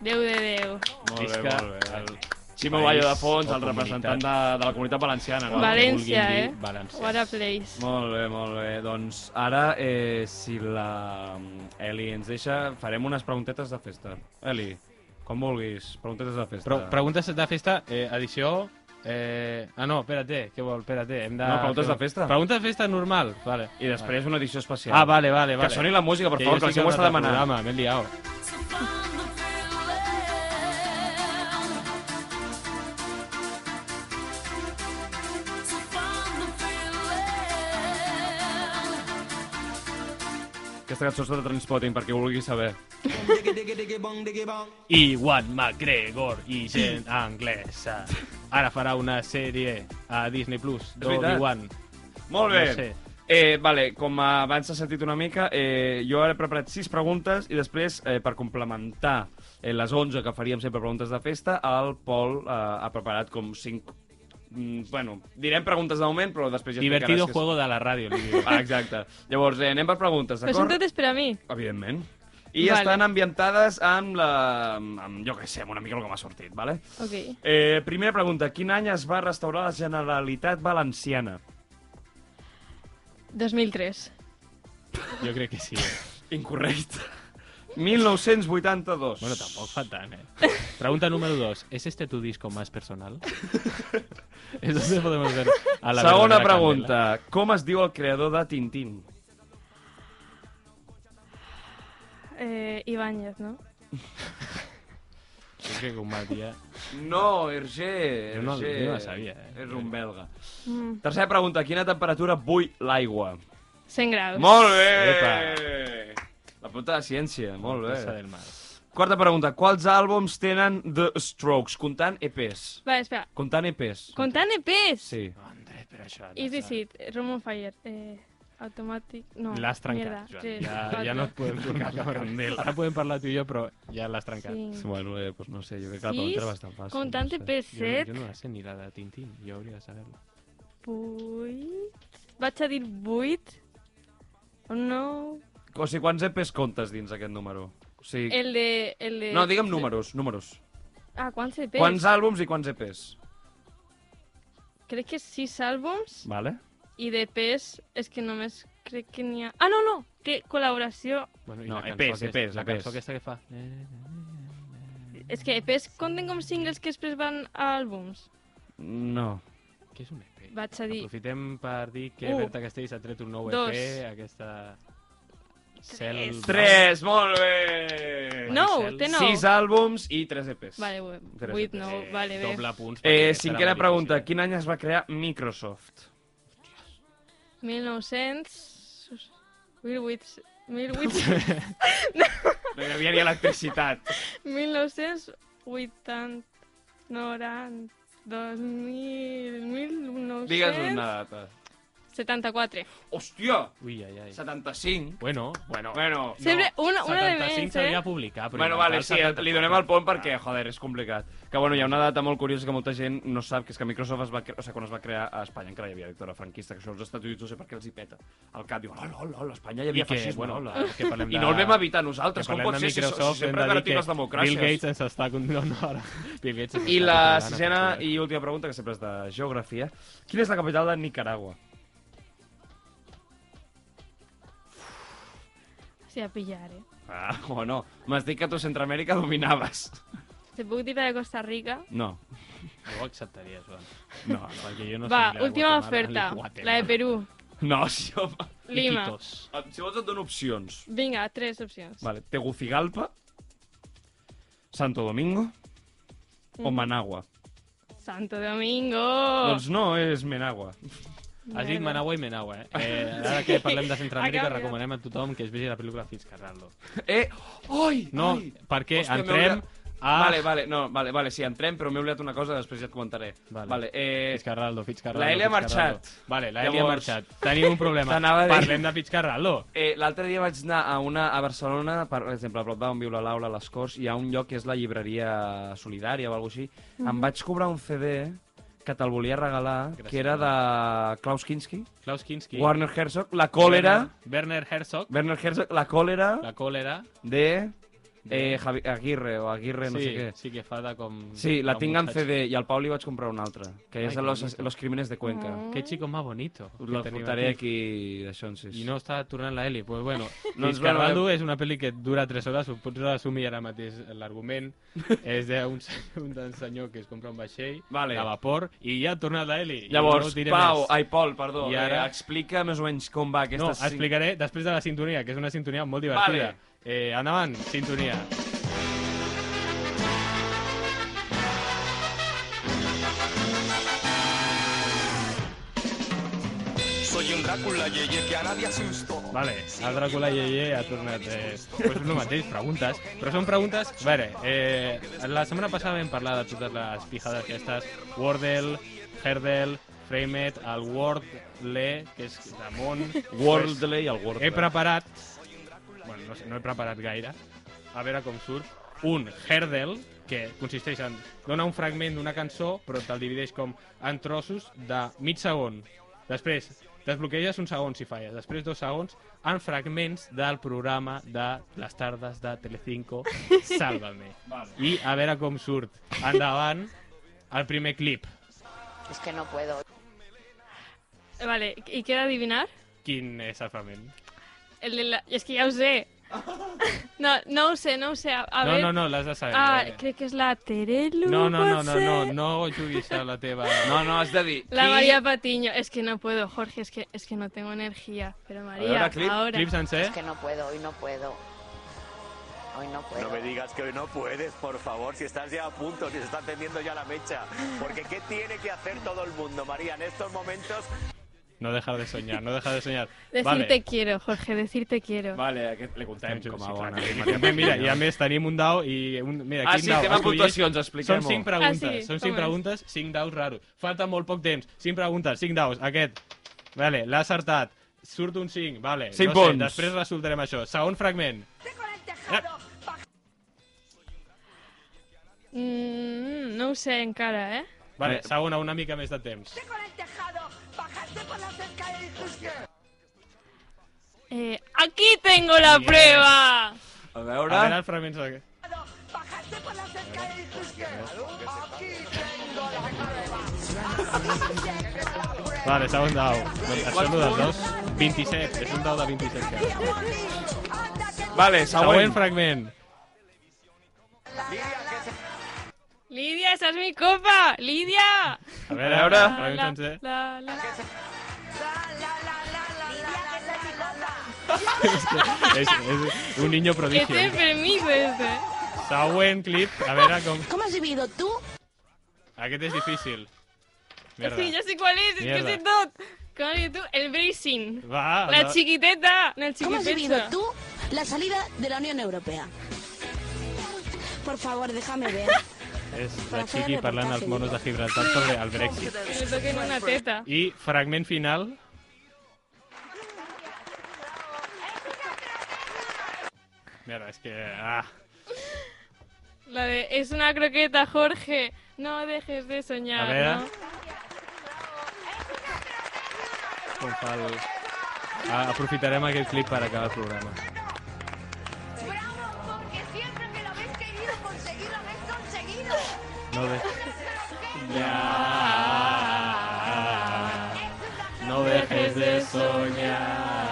Speaker 5: Déu de Déu.
Speaker 3: Molt bé,
Speaker 4: Visca
Speaker 3: molt bé.
Speaker 4: el
Speaker 3: Ximo
Speaker 4: país
Speaker 3: Ballo de Fons,
Speaker 4: o
Speaker 3: el representant de, de la comunitat valenciana. No?
Speaker 5: Vale. València,
Speaker 4: vulguin dir
Speaker 5: eh?
Speaker 4: València.
Speaker 5: What a place.
Speaker 3: Molt bé, molt bé. Doncs ara, eh, si la mm, Eli ens deixa, farem unes preguntetes de festa. Eli, com vulguis, preguntetes de festa.
Speaker 4: Pro preguntes de festa, eh, edició... Eh... Ah, no, espérate, què vol? Espérate, hem de...
Speaker 3: No, preguntes
Speaker 4: què
Speaker 3: de festa.
Speaker 4: Preguntes de festa normal, vale.
Speaker 3: I després una edició especial.
Speaker 4: Ah, vale, vale,
Speaker 3: Que
Speaker 4: vale.
Speaker 3: soni la música, per favor, que el
Speaker 4: jo estic
Speaker 3: Ximo
Speaker 4: en
Speaker 3: està
Speaker 4: altre
Speaker 3: demanant.
Speaker 4: programa, M'he liat.
Speaker 3: Aquesta cançó està de Transpotting, perquè ho vulgui saber.
Speaker 4: Iwan McGregor i [LAUGHS] gent anglesa. Ara farà una sèrie a Disney Plus
Speaker 3: veritat.
Speaker 4: d'Obi-Wan.
Speaker 3: Molt bé.
Speaker 4: No sé.
Speaker 3: Eh, vale, com abans s'ha sentit una mica, eh, jo ara he preparat sis preguntes i després, eh, per complementar eh, les 11 que faríem sempre preguntes de festa, el Pol eh, ha preparat com cinc... Mm, bueno, direm preguntes de moment, però després ja
Speaker 4: Divertido
Speaker 3: explicaràs
Speaker 4: juego de la ràdio, li
Speaker 3: Que...
Speaker 4: diu.
Speaker 3: és- Ah, exacte. Llavors, eh, anem per preguntes,
Speaker 5: Però
Speaker 3: d'acord?
Speaker 5: són totes per Pues a mi.
Speaker 3: Evidentment. I
Speaker 5: Vale.
Speaker 3: estan ambientades amb la... Amb, jo què sé, amb una mica el que m'ha sortit, vale?
Speaker 5: Ok.
Speaker 3: Eh, primera pregunta, quin any es va restaurar la Generalitat Valenciana?
Speaker 5: 2003.
Speaker 4: Jo crec que sí. Eh?
Speaker 3: Incorrecte. [LAUGHS] 1982.
Speaker 4: Bueno, tampoc fa tant, eh? Pregunta número 2. ¿Es este tu disco más [LAUGHS] personal? Eso se podemos ver a la
Speaker 3: Segona
Speaker 4: verdadera
Speaker 3: pregunta. Com es diu el creador de Tintín?
Speaker 5: Eh, Ibáñez, ¿no?
Speaker 4: candela. Jo crec que un mal dia...
Speaker 3: No, Hergé.
Speaker 4: Jo no-
Speaker 3: Hergé.
Speaker 4: jo no la sabia, eh.
Speaker 3: És un belga.
Speaker 5: Mm.
Speaker 3: Tercera pregunta. A quina temperatura bull l'aigua?
Speaker 5: 100 grados.
Speaker 3: Molt bé!
Speaker 4: Epa.
Speaker 3: La punta de ciència, molt
Speaker 4: Cosa
Speaker 3: bé.
Speaker 4: del mal.
Speaker 3: Quarta pregunta. Quals àlbums tenen The Strokes? Comptant EPs.
Speaker 5: Vale, espera.
Speaker 3: Comptant EPs.
Speaker 5: Contant EPs.
Speaker 3: Sí.
Speaker 4: Andrés, però això... No
Speaker 5: Easy Seat, Room on Fire, eh, Automatic... No,
Speaker 4: L'has
Speaker 5: mierda.
Speaker 4: trencat, Joan.
Speaker 5: Tres,
Speaker 4: ja,
Speaker 5: quatre,
Speaker 4: ja no et podem tornar la candela. Ara podem parlar tu i jo, però ja l'has trencat.
Speaker 5: cinc.
Speaker 3: Bueno, eh, pues no sé, jo crec que la
Speaker 5: Sis?
Speaker 3: pregunta era bastant fàcil.
Speaker 5: Comptant
Speaker 3: no sé.
Speaker 5: EPs,
Speaker 4: Jo, jo
Speaker 5: E set,
Speaker 4: no la sé ni la de Tintín, jo hauria de saber-la.
Speaker 5: vuit... Vaig a dir vuit? O no?
Speaker 3: O sigui, quants EPs comptes dins aquest número? O sigui,
Speaker 5: El de... El de...
Speaker 3: No, digue'm números, números.
Speaker 5: Ah, quants EPs?
Speaker 3: Quants àlbums i quants E EPs?
Speaker 5: Crec que sis àlbums.
Speaker 3: Vale.
Speaker 5: I de pes és que només crec que n'hi ha... Ah, no, no! Que col·laboració...
Speaker 4: Bueno,
Speaker 3: No,
Speaker 4: la
Speaker 3: EPs,
Speaker 4: cançó aquesta-
Speaker 3: EPs,
Speaker 4: La
Speaker 3: EPs.
Speaker 4: cançó aquesta que fa...
Speaker 5: És que EPs compten com singles que després van a àlbums.
Speaker 3: No.
Speaker 4: Què és un EP?
Speaker 5: Vaig a dir
Speaker 4: Aprofitem per dir que
Speaker 5: U,
Speaker 4: Berta Castells ha tret un nou EP,
Speaker 5: Uh. dos,
Speaker 4: aquesta...
Speaker 5: tres.
Speaker 3: Tres, molt bé!
Speaker 5: Nou,
Speaker 4: Maricel.
Speaker 5: té nou.
Speaker 3: Sis àlbums i tres EPs.
Speaker 5: Vale, bé,
Speaker 3: Tres
Speaker 5: vuit,
Speaker 3: EPs.
Speaker 5: nou, vale, bé.
Speaker 4: Doble punts. perquè
Speaker 3: Eh,
Speaker 4: aquesta era
Speaker 3: cinquena
Speaker 4: la
Speaker 3: pregunta.
Speaker 4: difícil.
Speaker 3: Quin any es va crear Microsoft?
Speaker 5: 1900... 1800... 1800...
Speaker 3: No hi havia ni electricitat.
Speaker 5: 1980, 90, 2000, 1900...
Speaker 3: Digues una data.
Speaker 5: 74.
Speaker 3: Hòstia!
Speaker 4: Ui, ai, ai.
Speaker 3: 75.
Speaker 4: Bueno, bueno.
Speaker 3: Bueno,
Speaker 4: No,
Speaker 5: Sempre una, una de
Speaker 4: 75
Speaker 5: menys,
Speaker 4: s'havia
Speaker 5: eh?
Speaker 4: de publicar, però...
Speaker 3: bueno
Speaker 4: inventar
Speaker 3: vale,
Speaker 4: el
Speaker 3: sí, li
Speaker 4: 74.
Speaker 3: donem el pont
Speaker 4: Ah,
Speaker 3: perquè, joder, és complicat. Que, bueno, hi ha una data molt curiosa que molta gent no sap, que és que Microsoft es va, cre- o sigui, quan es va crear a Espanya encara hi havia dictadura franquista, que això als Estats Units no sé per què els hi peta. Al cap diuen, hola, hola, a Espanya hi
Speaker 4: I
Speaker 3: havia
Speaker 4: que,
Speaker 3: fascisme,
Speaker 4: bueno,
Speaker 3: hola.
Speaker 4: que parlem de...
Speaker 3: I no el vam evitar
Speaker 4: que
Speaker 3: nosaltres, com
Speaker 4: parlem
Speaker 3: pot
Speaker 4: de
Speaker 3: ser si, si,
Speaker 4: Microsoft, hem
Speaker 3: sempre
Speaker 4: de dir
Speaker 3: garantim
Speaker 4: que
Speaker 3: les democràcies?
Speaker 4: Bill Gates ens està... con- No, no, ara. [LAUGHS] Bill Gates ens
Speaker 3: I
Speaker 4: està
Speaker 3: la
Speaker 4: condenant a
Speaker 3: sisena
Speaker 4: presó, eh?
Speaker 3: i última pregunta, que sempre és de geografia. Quina és la capital de Nicaragua?
Speaker 5: Sí, a pillar, eh?
Speaker 3: Ah, [LAUGHS] o no. M'has dit que tu Centroamèrica dominaves.
Speaker 5: Te puc dir la de Costa Rica?
Speaker 3: No.
Speaker 4: No ho acceptaries, Joan.
Speaker 3: No,
Speaker 4: Perquè jo no
Speaker 5: Va,
Speaker 4: soc ni de Guatemala,
Speaker 5: última
Speaker 4: ni
Speaker 5: oferta. La
Speaker 4: Guatemala.
Speaker 5: de Perú.
Speaker 3: no, sí, home.
Speaker 5: Lima.
Speaker 4: Iquitos.
Speaker 3: Et- Ah, Si vols et dono opcions.
Speaker 5: Vinga, tres opcions.
Speaker 3: Vale, Tegucigalpa, Santo Domingo o Managua.
Speaker 5: Santo Domingo.
Speaker 3: Doncs no, és Menagua.
Speaker 4: Has dit
Speaker 5: Merda.
Speaker 4: Managua i Menagua, eh? eh ara que parlem de Centroamèrica,
Speaker 5: Acabem.
Speaker 4: recomanem a tothom que es vegi la pel·lícula Fitzcarraldo.
Speaker 3: [LAUGHS] Eh, oi!
Speaker 4: No,
Speaker 3: ai.
Speaker 4: perquè
Speaker 3: Hòstia, m'he
Speaker 4: entrem
Speaker 3: oblidat.
Speaker 4: a...
Speaker 3: Vale, vale, no, vale, vale, sí, entrem, però m'he oblidat una cosa, després ja et comentaré.
Speaker 4: Vale.
Speaker 3: vale eh,
Speaker 4: Fitzcarraldo, Fitzcarraldo.
Speaker 3: La Eli ha
Speaker 4: Fitzcarraldo.
Speaker 3: marxat.
Speaker 4: Vale, la Eli ha
Speaker 3: Llavors-
Speaker 4: marxat. Tenim un problema.
Speaker 3: T'anava a dir-
Speaker 4: Parlem de Fitzcarraldo.
Speaker 3: Eh, L'altre dia vaig anar a, una, a Barcelona, per exemple, a prop d'on viu la Laura, a les Corts, hi ha un lloc que és la llibreria solidària o alguna així. Em vaig cobrar un CD que te'l volia regalar,
Speaker 4: Gràcies.
Speaker 3: que era de Klaus Kinski,
Speaker 4: Klaus Kinski.
Speaker 3: Warner Herzog, La còlera,
Speaker 4: Werner Herzog.
Speaker 3: Werner Herzog, La còlera
Speaker 4: La còlera.
Speaker 3: de eh, Javi, Aguirre o Aguirre,
Speaker 4: sí,
Speaker 3: no sé què.
Speaker 4: sí que fa de com...
Speaker 3: Sí, la
Speaker 4: com
Speaker 3: tinc en
Speaker 4: muchacho.
Speaker 3: CD i al Pau li vaig comprar una altra, que
Speaker 4: Ai,
Speaker 3: és
Speaker 4: que
Speaker 3: los,
Speaker 4: bonito.
Speaker 3: los Crímenes de Cuenca.
Speaker 4: Que chico más bonito. que
Speaker 3: La
Speaker 4: tenim
Speaker 3: portaré aquí, d'això, en sis.
Speaker 4: I no està tornant la Eli. Pues bueno,
Speaker 3: [LAUGHS] No
Speaker 4: no
Speaker 3: ens
Speaker 4: Fitzcarraldo
Speaker 3: veurem.
Speaker 4: és una pel·li que dura 3 hores, ho pots resumir ara mateix
Speaker 3: [LAUGHS]
Speaker 4: l'argument. és d'un senyor, [LAUGHS] un d'un senyor que es compra un vaixell
Speaker 3: Vale.
Speaker 4: de vapor i ja ha tornat la Eli. i
Speaker 3: Llavors,
Speaker 4: no ho diré
Speaker 3: Pau,
Speaker 4: més.
Speaker 3: ai, Pol, perdó,
Speaker 4: I
Speaker 3: I ara...
Speaker 4: ara-
Speaker 3: eh, explica més o menys com va aquesta...
Speaker 4: No,
Speaker 3: cinc-
Speaker 4: explicaré després de la sintonia, que és una sintonia molt divertida.
Speaker 3: Vale.
Speaker 4: Eh, endavant, sintonia.
Speaker 8: Soy un Drácula yeye que a nadie asustó.
Speaker 4: Vale, el Dràcula Yeye ha tornat. Eh, pues és el mateix, preguntes. Però són preguntes... A veure, eh, la setmana passada vam parlar de totes les pijades aquestes. Wordle, Herdel, Framet, el Wordle, que és de món.
Speaker 3: Worldly i el Worldly.
Speaker 4: He preparat... Bueno, no, sé, no he preparat gaire. A veure com surt. Un herdel, que consisteix en donar un fragment d'una cançó, però te'l divideix com en trossos de mig segon. Després, desbloqueges un segon si falles. Després dos segons en fragments del programa de les tardes de Telecinco Sálvame. I a veure com surt. Endavant, el primer clip.
Speaker 6: Es que no puedo.
Speaker 5: Vale, ¿y queda adivinar?
Speaker 4: Quin és el fragment?
Speaker 5: El de la... Es que ya lo sé. [LAUGHS] No, no ho sé, no ho sé. A, a
Speaker 4: no,
Speaker 5: ver...
Speaker 4: no, no, l'has de saber.
Speaker 5: Ah,
Speaker 4: vale.
Speaker 5: crec que és la Terelu,
Speaker 4: No, no, no, no,
Speaker 5: potser?
Speaker 4: no, no juguis a la
Speaker 5: [LAUGHS]
Speaker 4: teva...
Speaker 3: No, no, has de dir...
Speaker 5: La
Speaker 3: qui-
Speaker 5: María Patiño. Es que no puedo, Jorge, es que, es que no tengo energía. Pero María,
Speaker 3: ahora clip,
Speaker 5: ahora...
Speaker 4: Clip sencer?
Speaker 6: Es que no puedo, hoy no puedo. Hoy no puedo.
Speaker 8: No me digas que hoy no puedes, por favor, si estás ya a punto, si se está tendiendo ya la mecha. Porque ¿qué tiene que hacer todo el mundo, María? En estos momentos
Speaker 4: No dejar de soñar, no dejar de soñar.
Speaker 5: Decir te
Speaker 4: Vale.
Speaker 5: quiero, Jorge, decir te quiero.
Speaker 3: Vale, aquest li contem
Speaker 4: Sí,
Speaker 3: com
Speaker 4: sí,
Speaker 3: a
Speaker 4: clar,
Speaker 3: bona.
Speaker 4: que-
Speaker 3: Maria
Speaker 4: Bé, [LAUGHS] mira, i a
Speaker 3: Patiño.
Speaker 4: més tenim un dau i... Un, mira,
Speaker 3: Ah,
Speaker 4: quin
Speaker 3: sí,
Speaker 4: dau?
Speaker 3: tema
Speaker 4: Escollir-
Speaker 3: puntuacions,
Speaker 4: Són
Speaker 3: expliquem-ho.
Speaker 4: cinc preguntes,
Speaker 5: Ah, sí,
Speaker 4: són
Speaker 5: com
Speaker 4: cinc
Speaker 5: és?
Speaker 4: preguntes, cinc daus raros. Falta molt poc temps, cinc preguntes, cinc daus. Aquest, vale, l'ha acertat. Surt un 5, vale.
Speaker 3: Cinc
Speaker 4: no
Speaker 3: punts.
Speaker 4: Sé, després resoldrem això. Segon fragment.
Speaker 5: Mm, no ho sé encara, eh?
Speaker 4: Vale,
Speaker 3: Eh.
Speaker 4: segona, una mica més de temps.
Speaker 5: Eh, aquí tengo la prueba.
Speaker 3: A
Speaker 4: A veure
Speaker 3: veure...
Speaker 4: el fragment... següent. Vale, segon dau. Doncs això no dels daus. 27, és un dau de 27 cares.
Speaker 3: Vale,
Speaker 4: Següent
Speaker 3: següent.
Speaker 4: fragment.
Speaker 5: Lidia, esa es mi copa. Lidia.
Speaker 4: A veure,
Speaker 3: A veure.
Speaker 4: fragment
Speaker 5: La,
Speaker 4: sencer.
Speaker 5: la, la.
Speaker 4: És, és un niño
Speaker 5: Que
Speaker 4: prodigio.
Speaker 5: te permiso este.
Speaker 4: Següent clip, a veure com...
Speaker 6: ¿Cómo has vivido tú?
Speaker 4: Aquest és difícil. Merda.
Speaker 5: Sí, ya sé cuál es, es
Speaker 4: Mierda. Ah,
Speaker 5: que sé todo. ¿Cómo has vivido tú? El bracing.
Speaker 4: Va,
Speaker 5: La
Speaker 4: va.
Speaker 5: chiquiteta. No, el
Speaker 6: ¿Cómo has vivido
Speaker 5: chiquiteta.
Speaker 6: tú la salida de la Unión Europea?
Speaker 9: por favor, déjame ver.
Speaker 4: És
Speaker 9: Per
Speaker 4: la
Speaker 9: fer
Speaker 4: Chiqui parlant als
Speaker 9: reportatge,
Speaker 4: monos de Gibraltar sobre el Brexit.
Speaker 5: Que li toquen una teta.
Speaker 4: I fragment final... Mira, és que... Ah.
Speaker 5: La de, es una croqueta, Jorge. No dejes de soñar,
Speaker 4: A ver.
Speaker 5: ¿no?
Speaker 4: Com fa el... Ah, aprofitarem aquest clip per acabar el programa. No de... No dejes de soñar.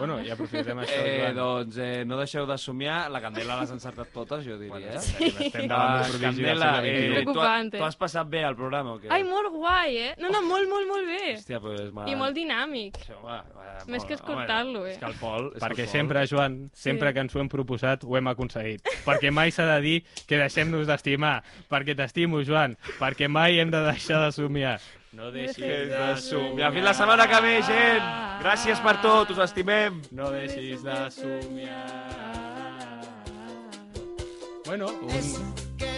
Speaker 4: Bueno, i aprofitem això,
Speaker 7: Eh,
Speaker 4: Joan.
Speaker 7: doncs eh, no deixeu de somiar. La Candela l'has encertat
Speaker 3: tota,
Speaker 7: totes, jo diria.
Speaker 4: Bueno,
Speaker 7: eh?
Speaker 4: sí. estem davant
Speaker 7: Ah,
Speaker 4: d'un prodigi del
Speaker 7: Candela,
Speaker 4: segle
Speaker 7: eh,
Speaker 4: XXI.
Speaker 7: tu, ha-
Speaker 5: Preocupante.
Speaker 7: tu has passat bé al programa o què?
Speaker 5: Ai, molt guai, eh? No, no, molt, molt, molt bé.
Speaker 7: Hòstia, pues, m'ha-
Speaker 5: I molt dinàmic.
Speaker 7: Sí, home, va,
Speaker 5: Més
Speaker 7: molt- home,
Speaker 5: que escoltar-lo, eh?
Speaker 7: És que el Pol... És eh? que
Speaker 4: Perquè
Speaker 7: el Pol-
Speaker 4: sempre, Joan, sempre
Speaker 5: Sí.
Speaker 4: que ens ho hem proposat, ho hem aconseguit. Perquè mai s'ha de dir que deixem-nos d'estimar. Perquè t'estimo, Joan. Perquè mai hem de deixar de somiar. No
Speaker 5: Dejes
Speaker 4: deixis
Speaker 5: de
Speaker 4: de
Speaker 7: I
Speaker 4: somiar.
Speaker 7: fins la setmana que ve, gent!
Speaker 5: Ah.
Speaker 7: Gràcies per tot, us estimem!
Speaker 4: No deixis de somiar. Ah. Bueno, un...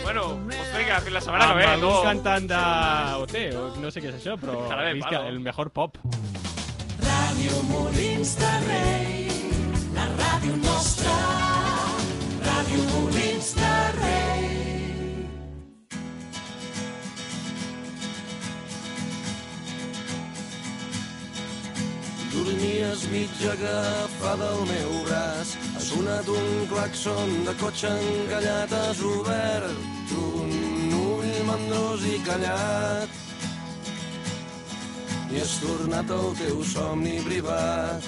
Speaker 7: Bueno, pues vinga, fins la setmana que
Speaker 4: Amb
Speaker 7: ve,
Speaker 4: algun
Speaker 7: tu!
Speaker 4: cantant de OT, o no sé què és això, però
Speaker 7: Jarabe
Speaker 4: visca
Speaker 7: Palo.
Speaker 4: el mejor pop.
Speaker 1: Ràdio Molins de Rei, la ràdio nostra. Ràdio Molins de Rei.
Speaker 10: Dormies mitja agafada al meu braç. Ha sonat un claxon de cotxe encallat. Has obert un ull mandrós i callat. I has tornat al teu somni privat.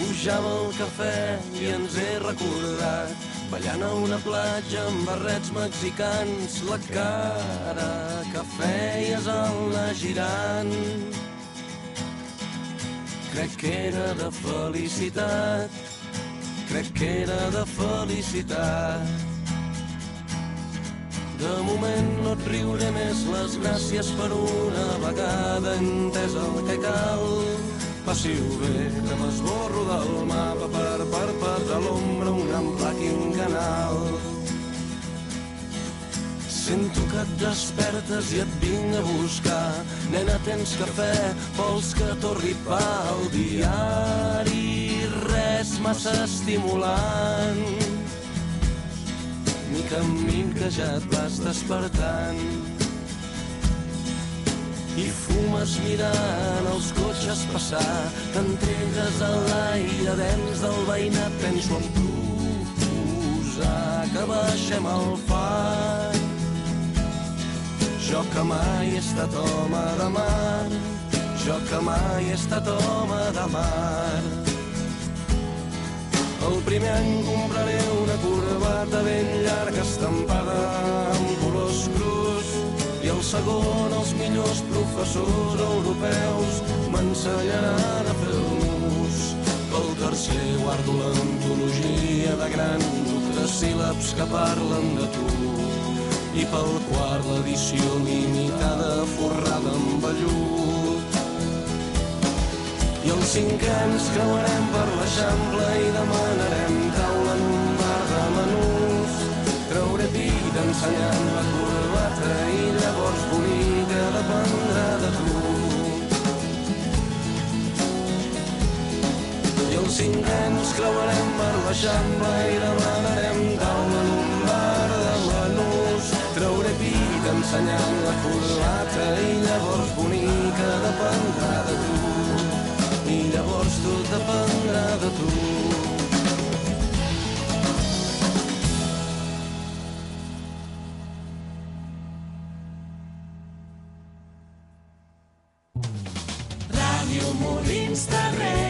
Speaker 10: Pujava el cafè i ens he recordat ballant a una platja amb barrets mexicans la cara que feies al anar girant crec que era de felicitat, crec que era de felicitat. De moment no et riuré més les gràcies per una vegada entès el que cal. Passi-ho bé, que m'esborro del mapa per perpetrar l'ombra un ample quincanal. Sento que et despertes i et vinc a buscar. Nena, tens cafè, vols que torni pa al diari? Res massa estimulant. Mica en mica ja et vas despertant. I fumes mirant els cotxes passar, t'entregues a l'aire dens del veïnat, penso en proposar que baixem al far. Jo que mai he estat home de mar, jo que mai he estat home de mar. El primer any compraré una corbata ben llarga estampada amb colors crus i el segon els millors professors europeus m'ensenyaran a fer el nus. Pel tercer guardo l'antologia de grans octasíl·labs que parlen de tu i pel quart l'edició limitada forrada amb vellut. I els cinc anys creuarem per l'Eixample i demanarem taula en un bar de menús. Trauré pit ensenyant la corbata i llavors bonica dependrà de tu. I els cinc nens creuarem per l'Eixample i demanarem taula en un bar de menús. Trauré pit ensenyant la corbata i llavors bonica dependrà de tu. I llavors tot dependrà de tu.
Speaker 1: Ràdio Molins de Rei,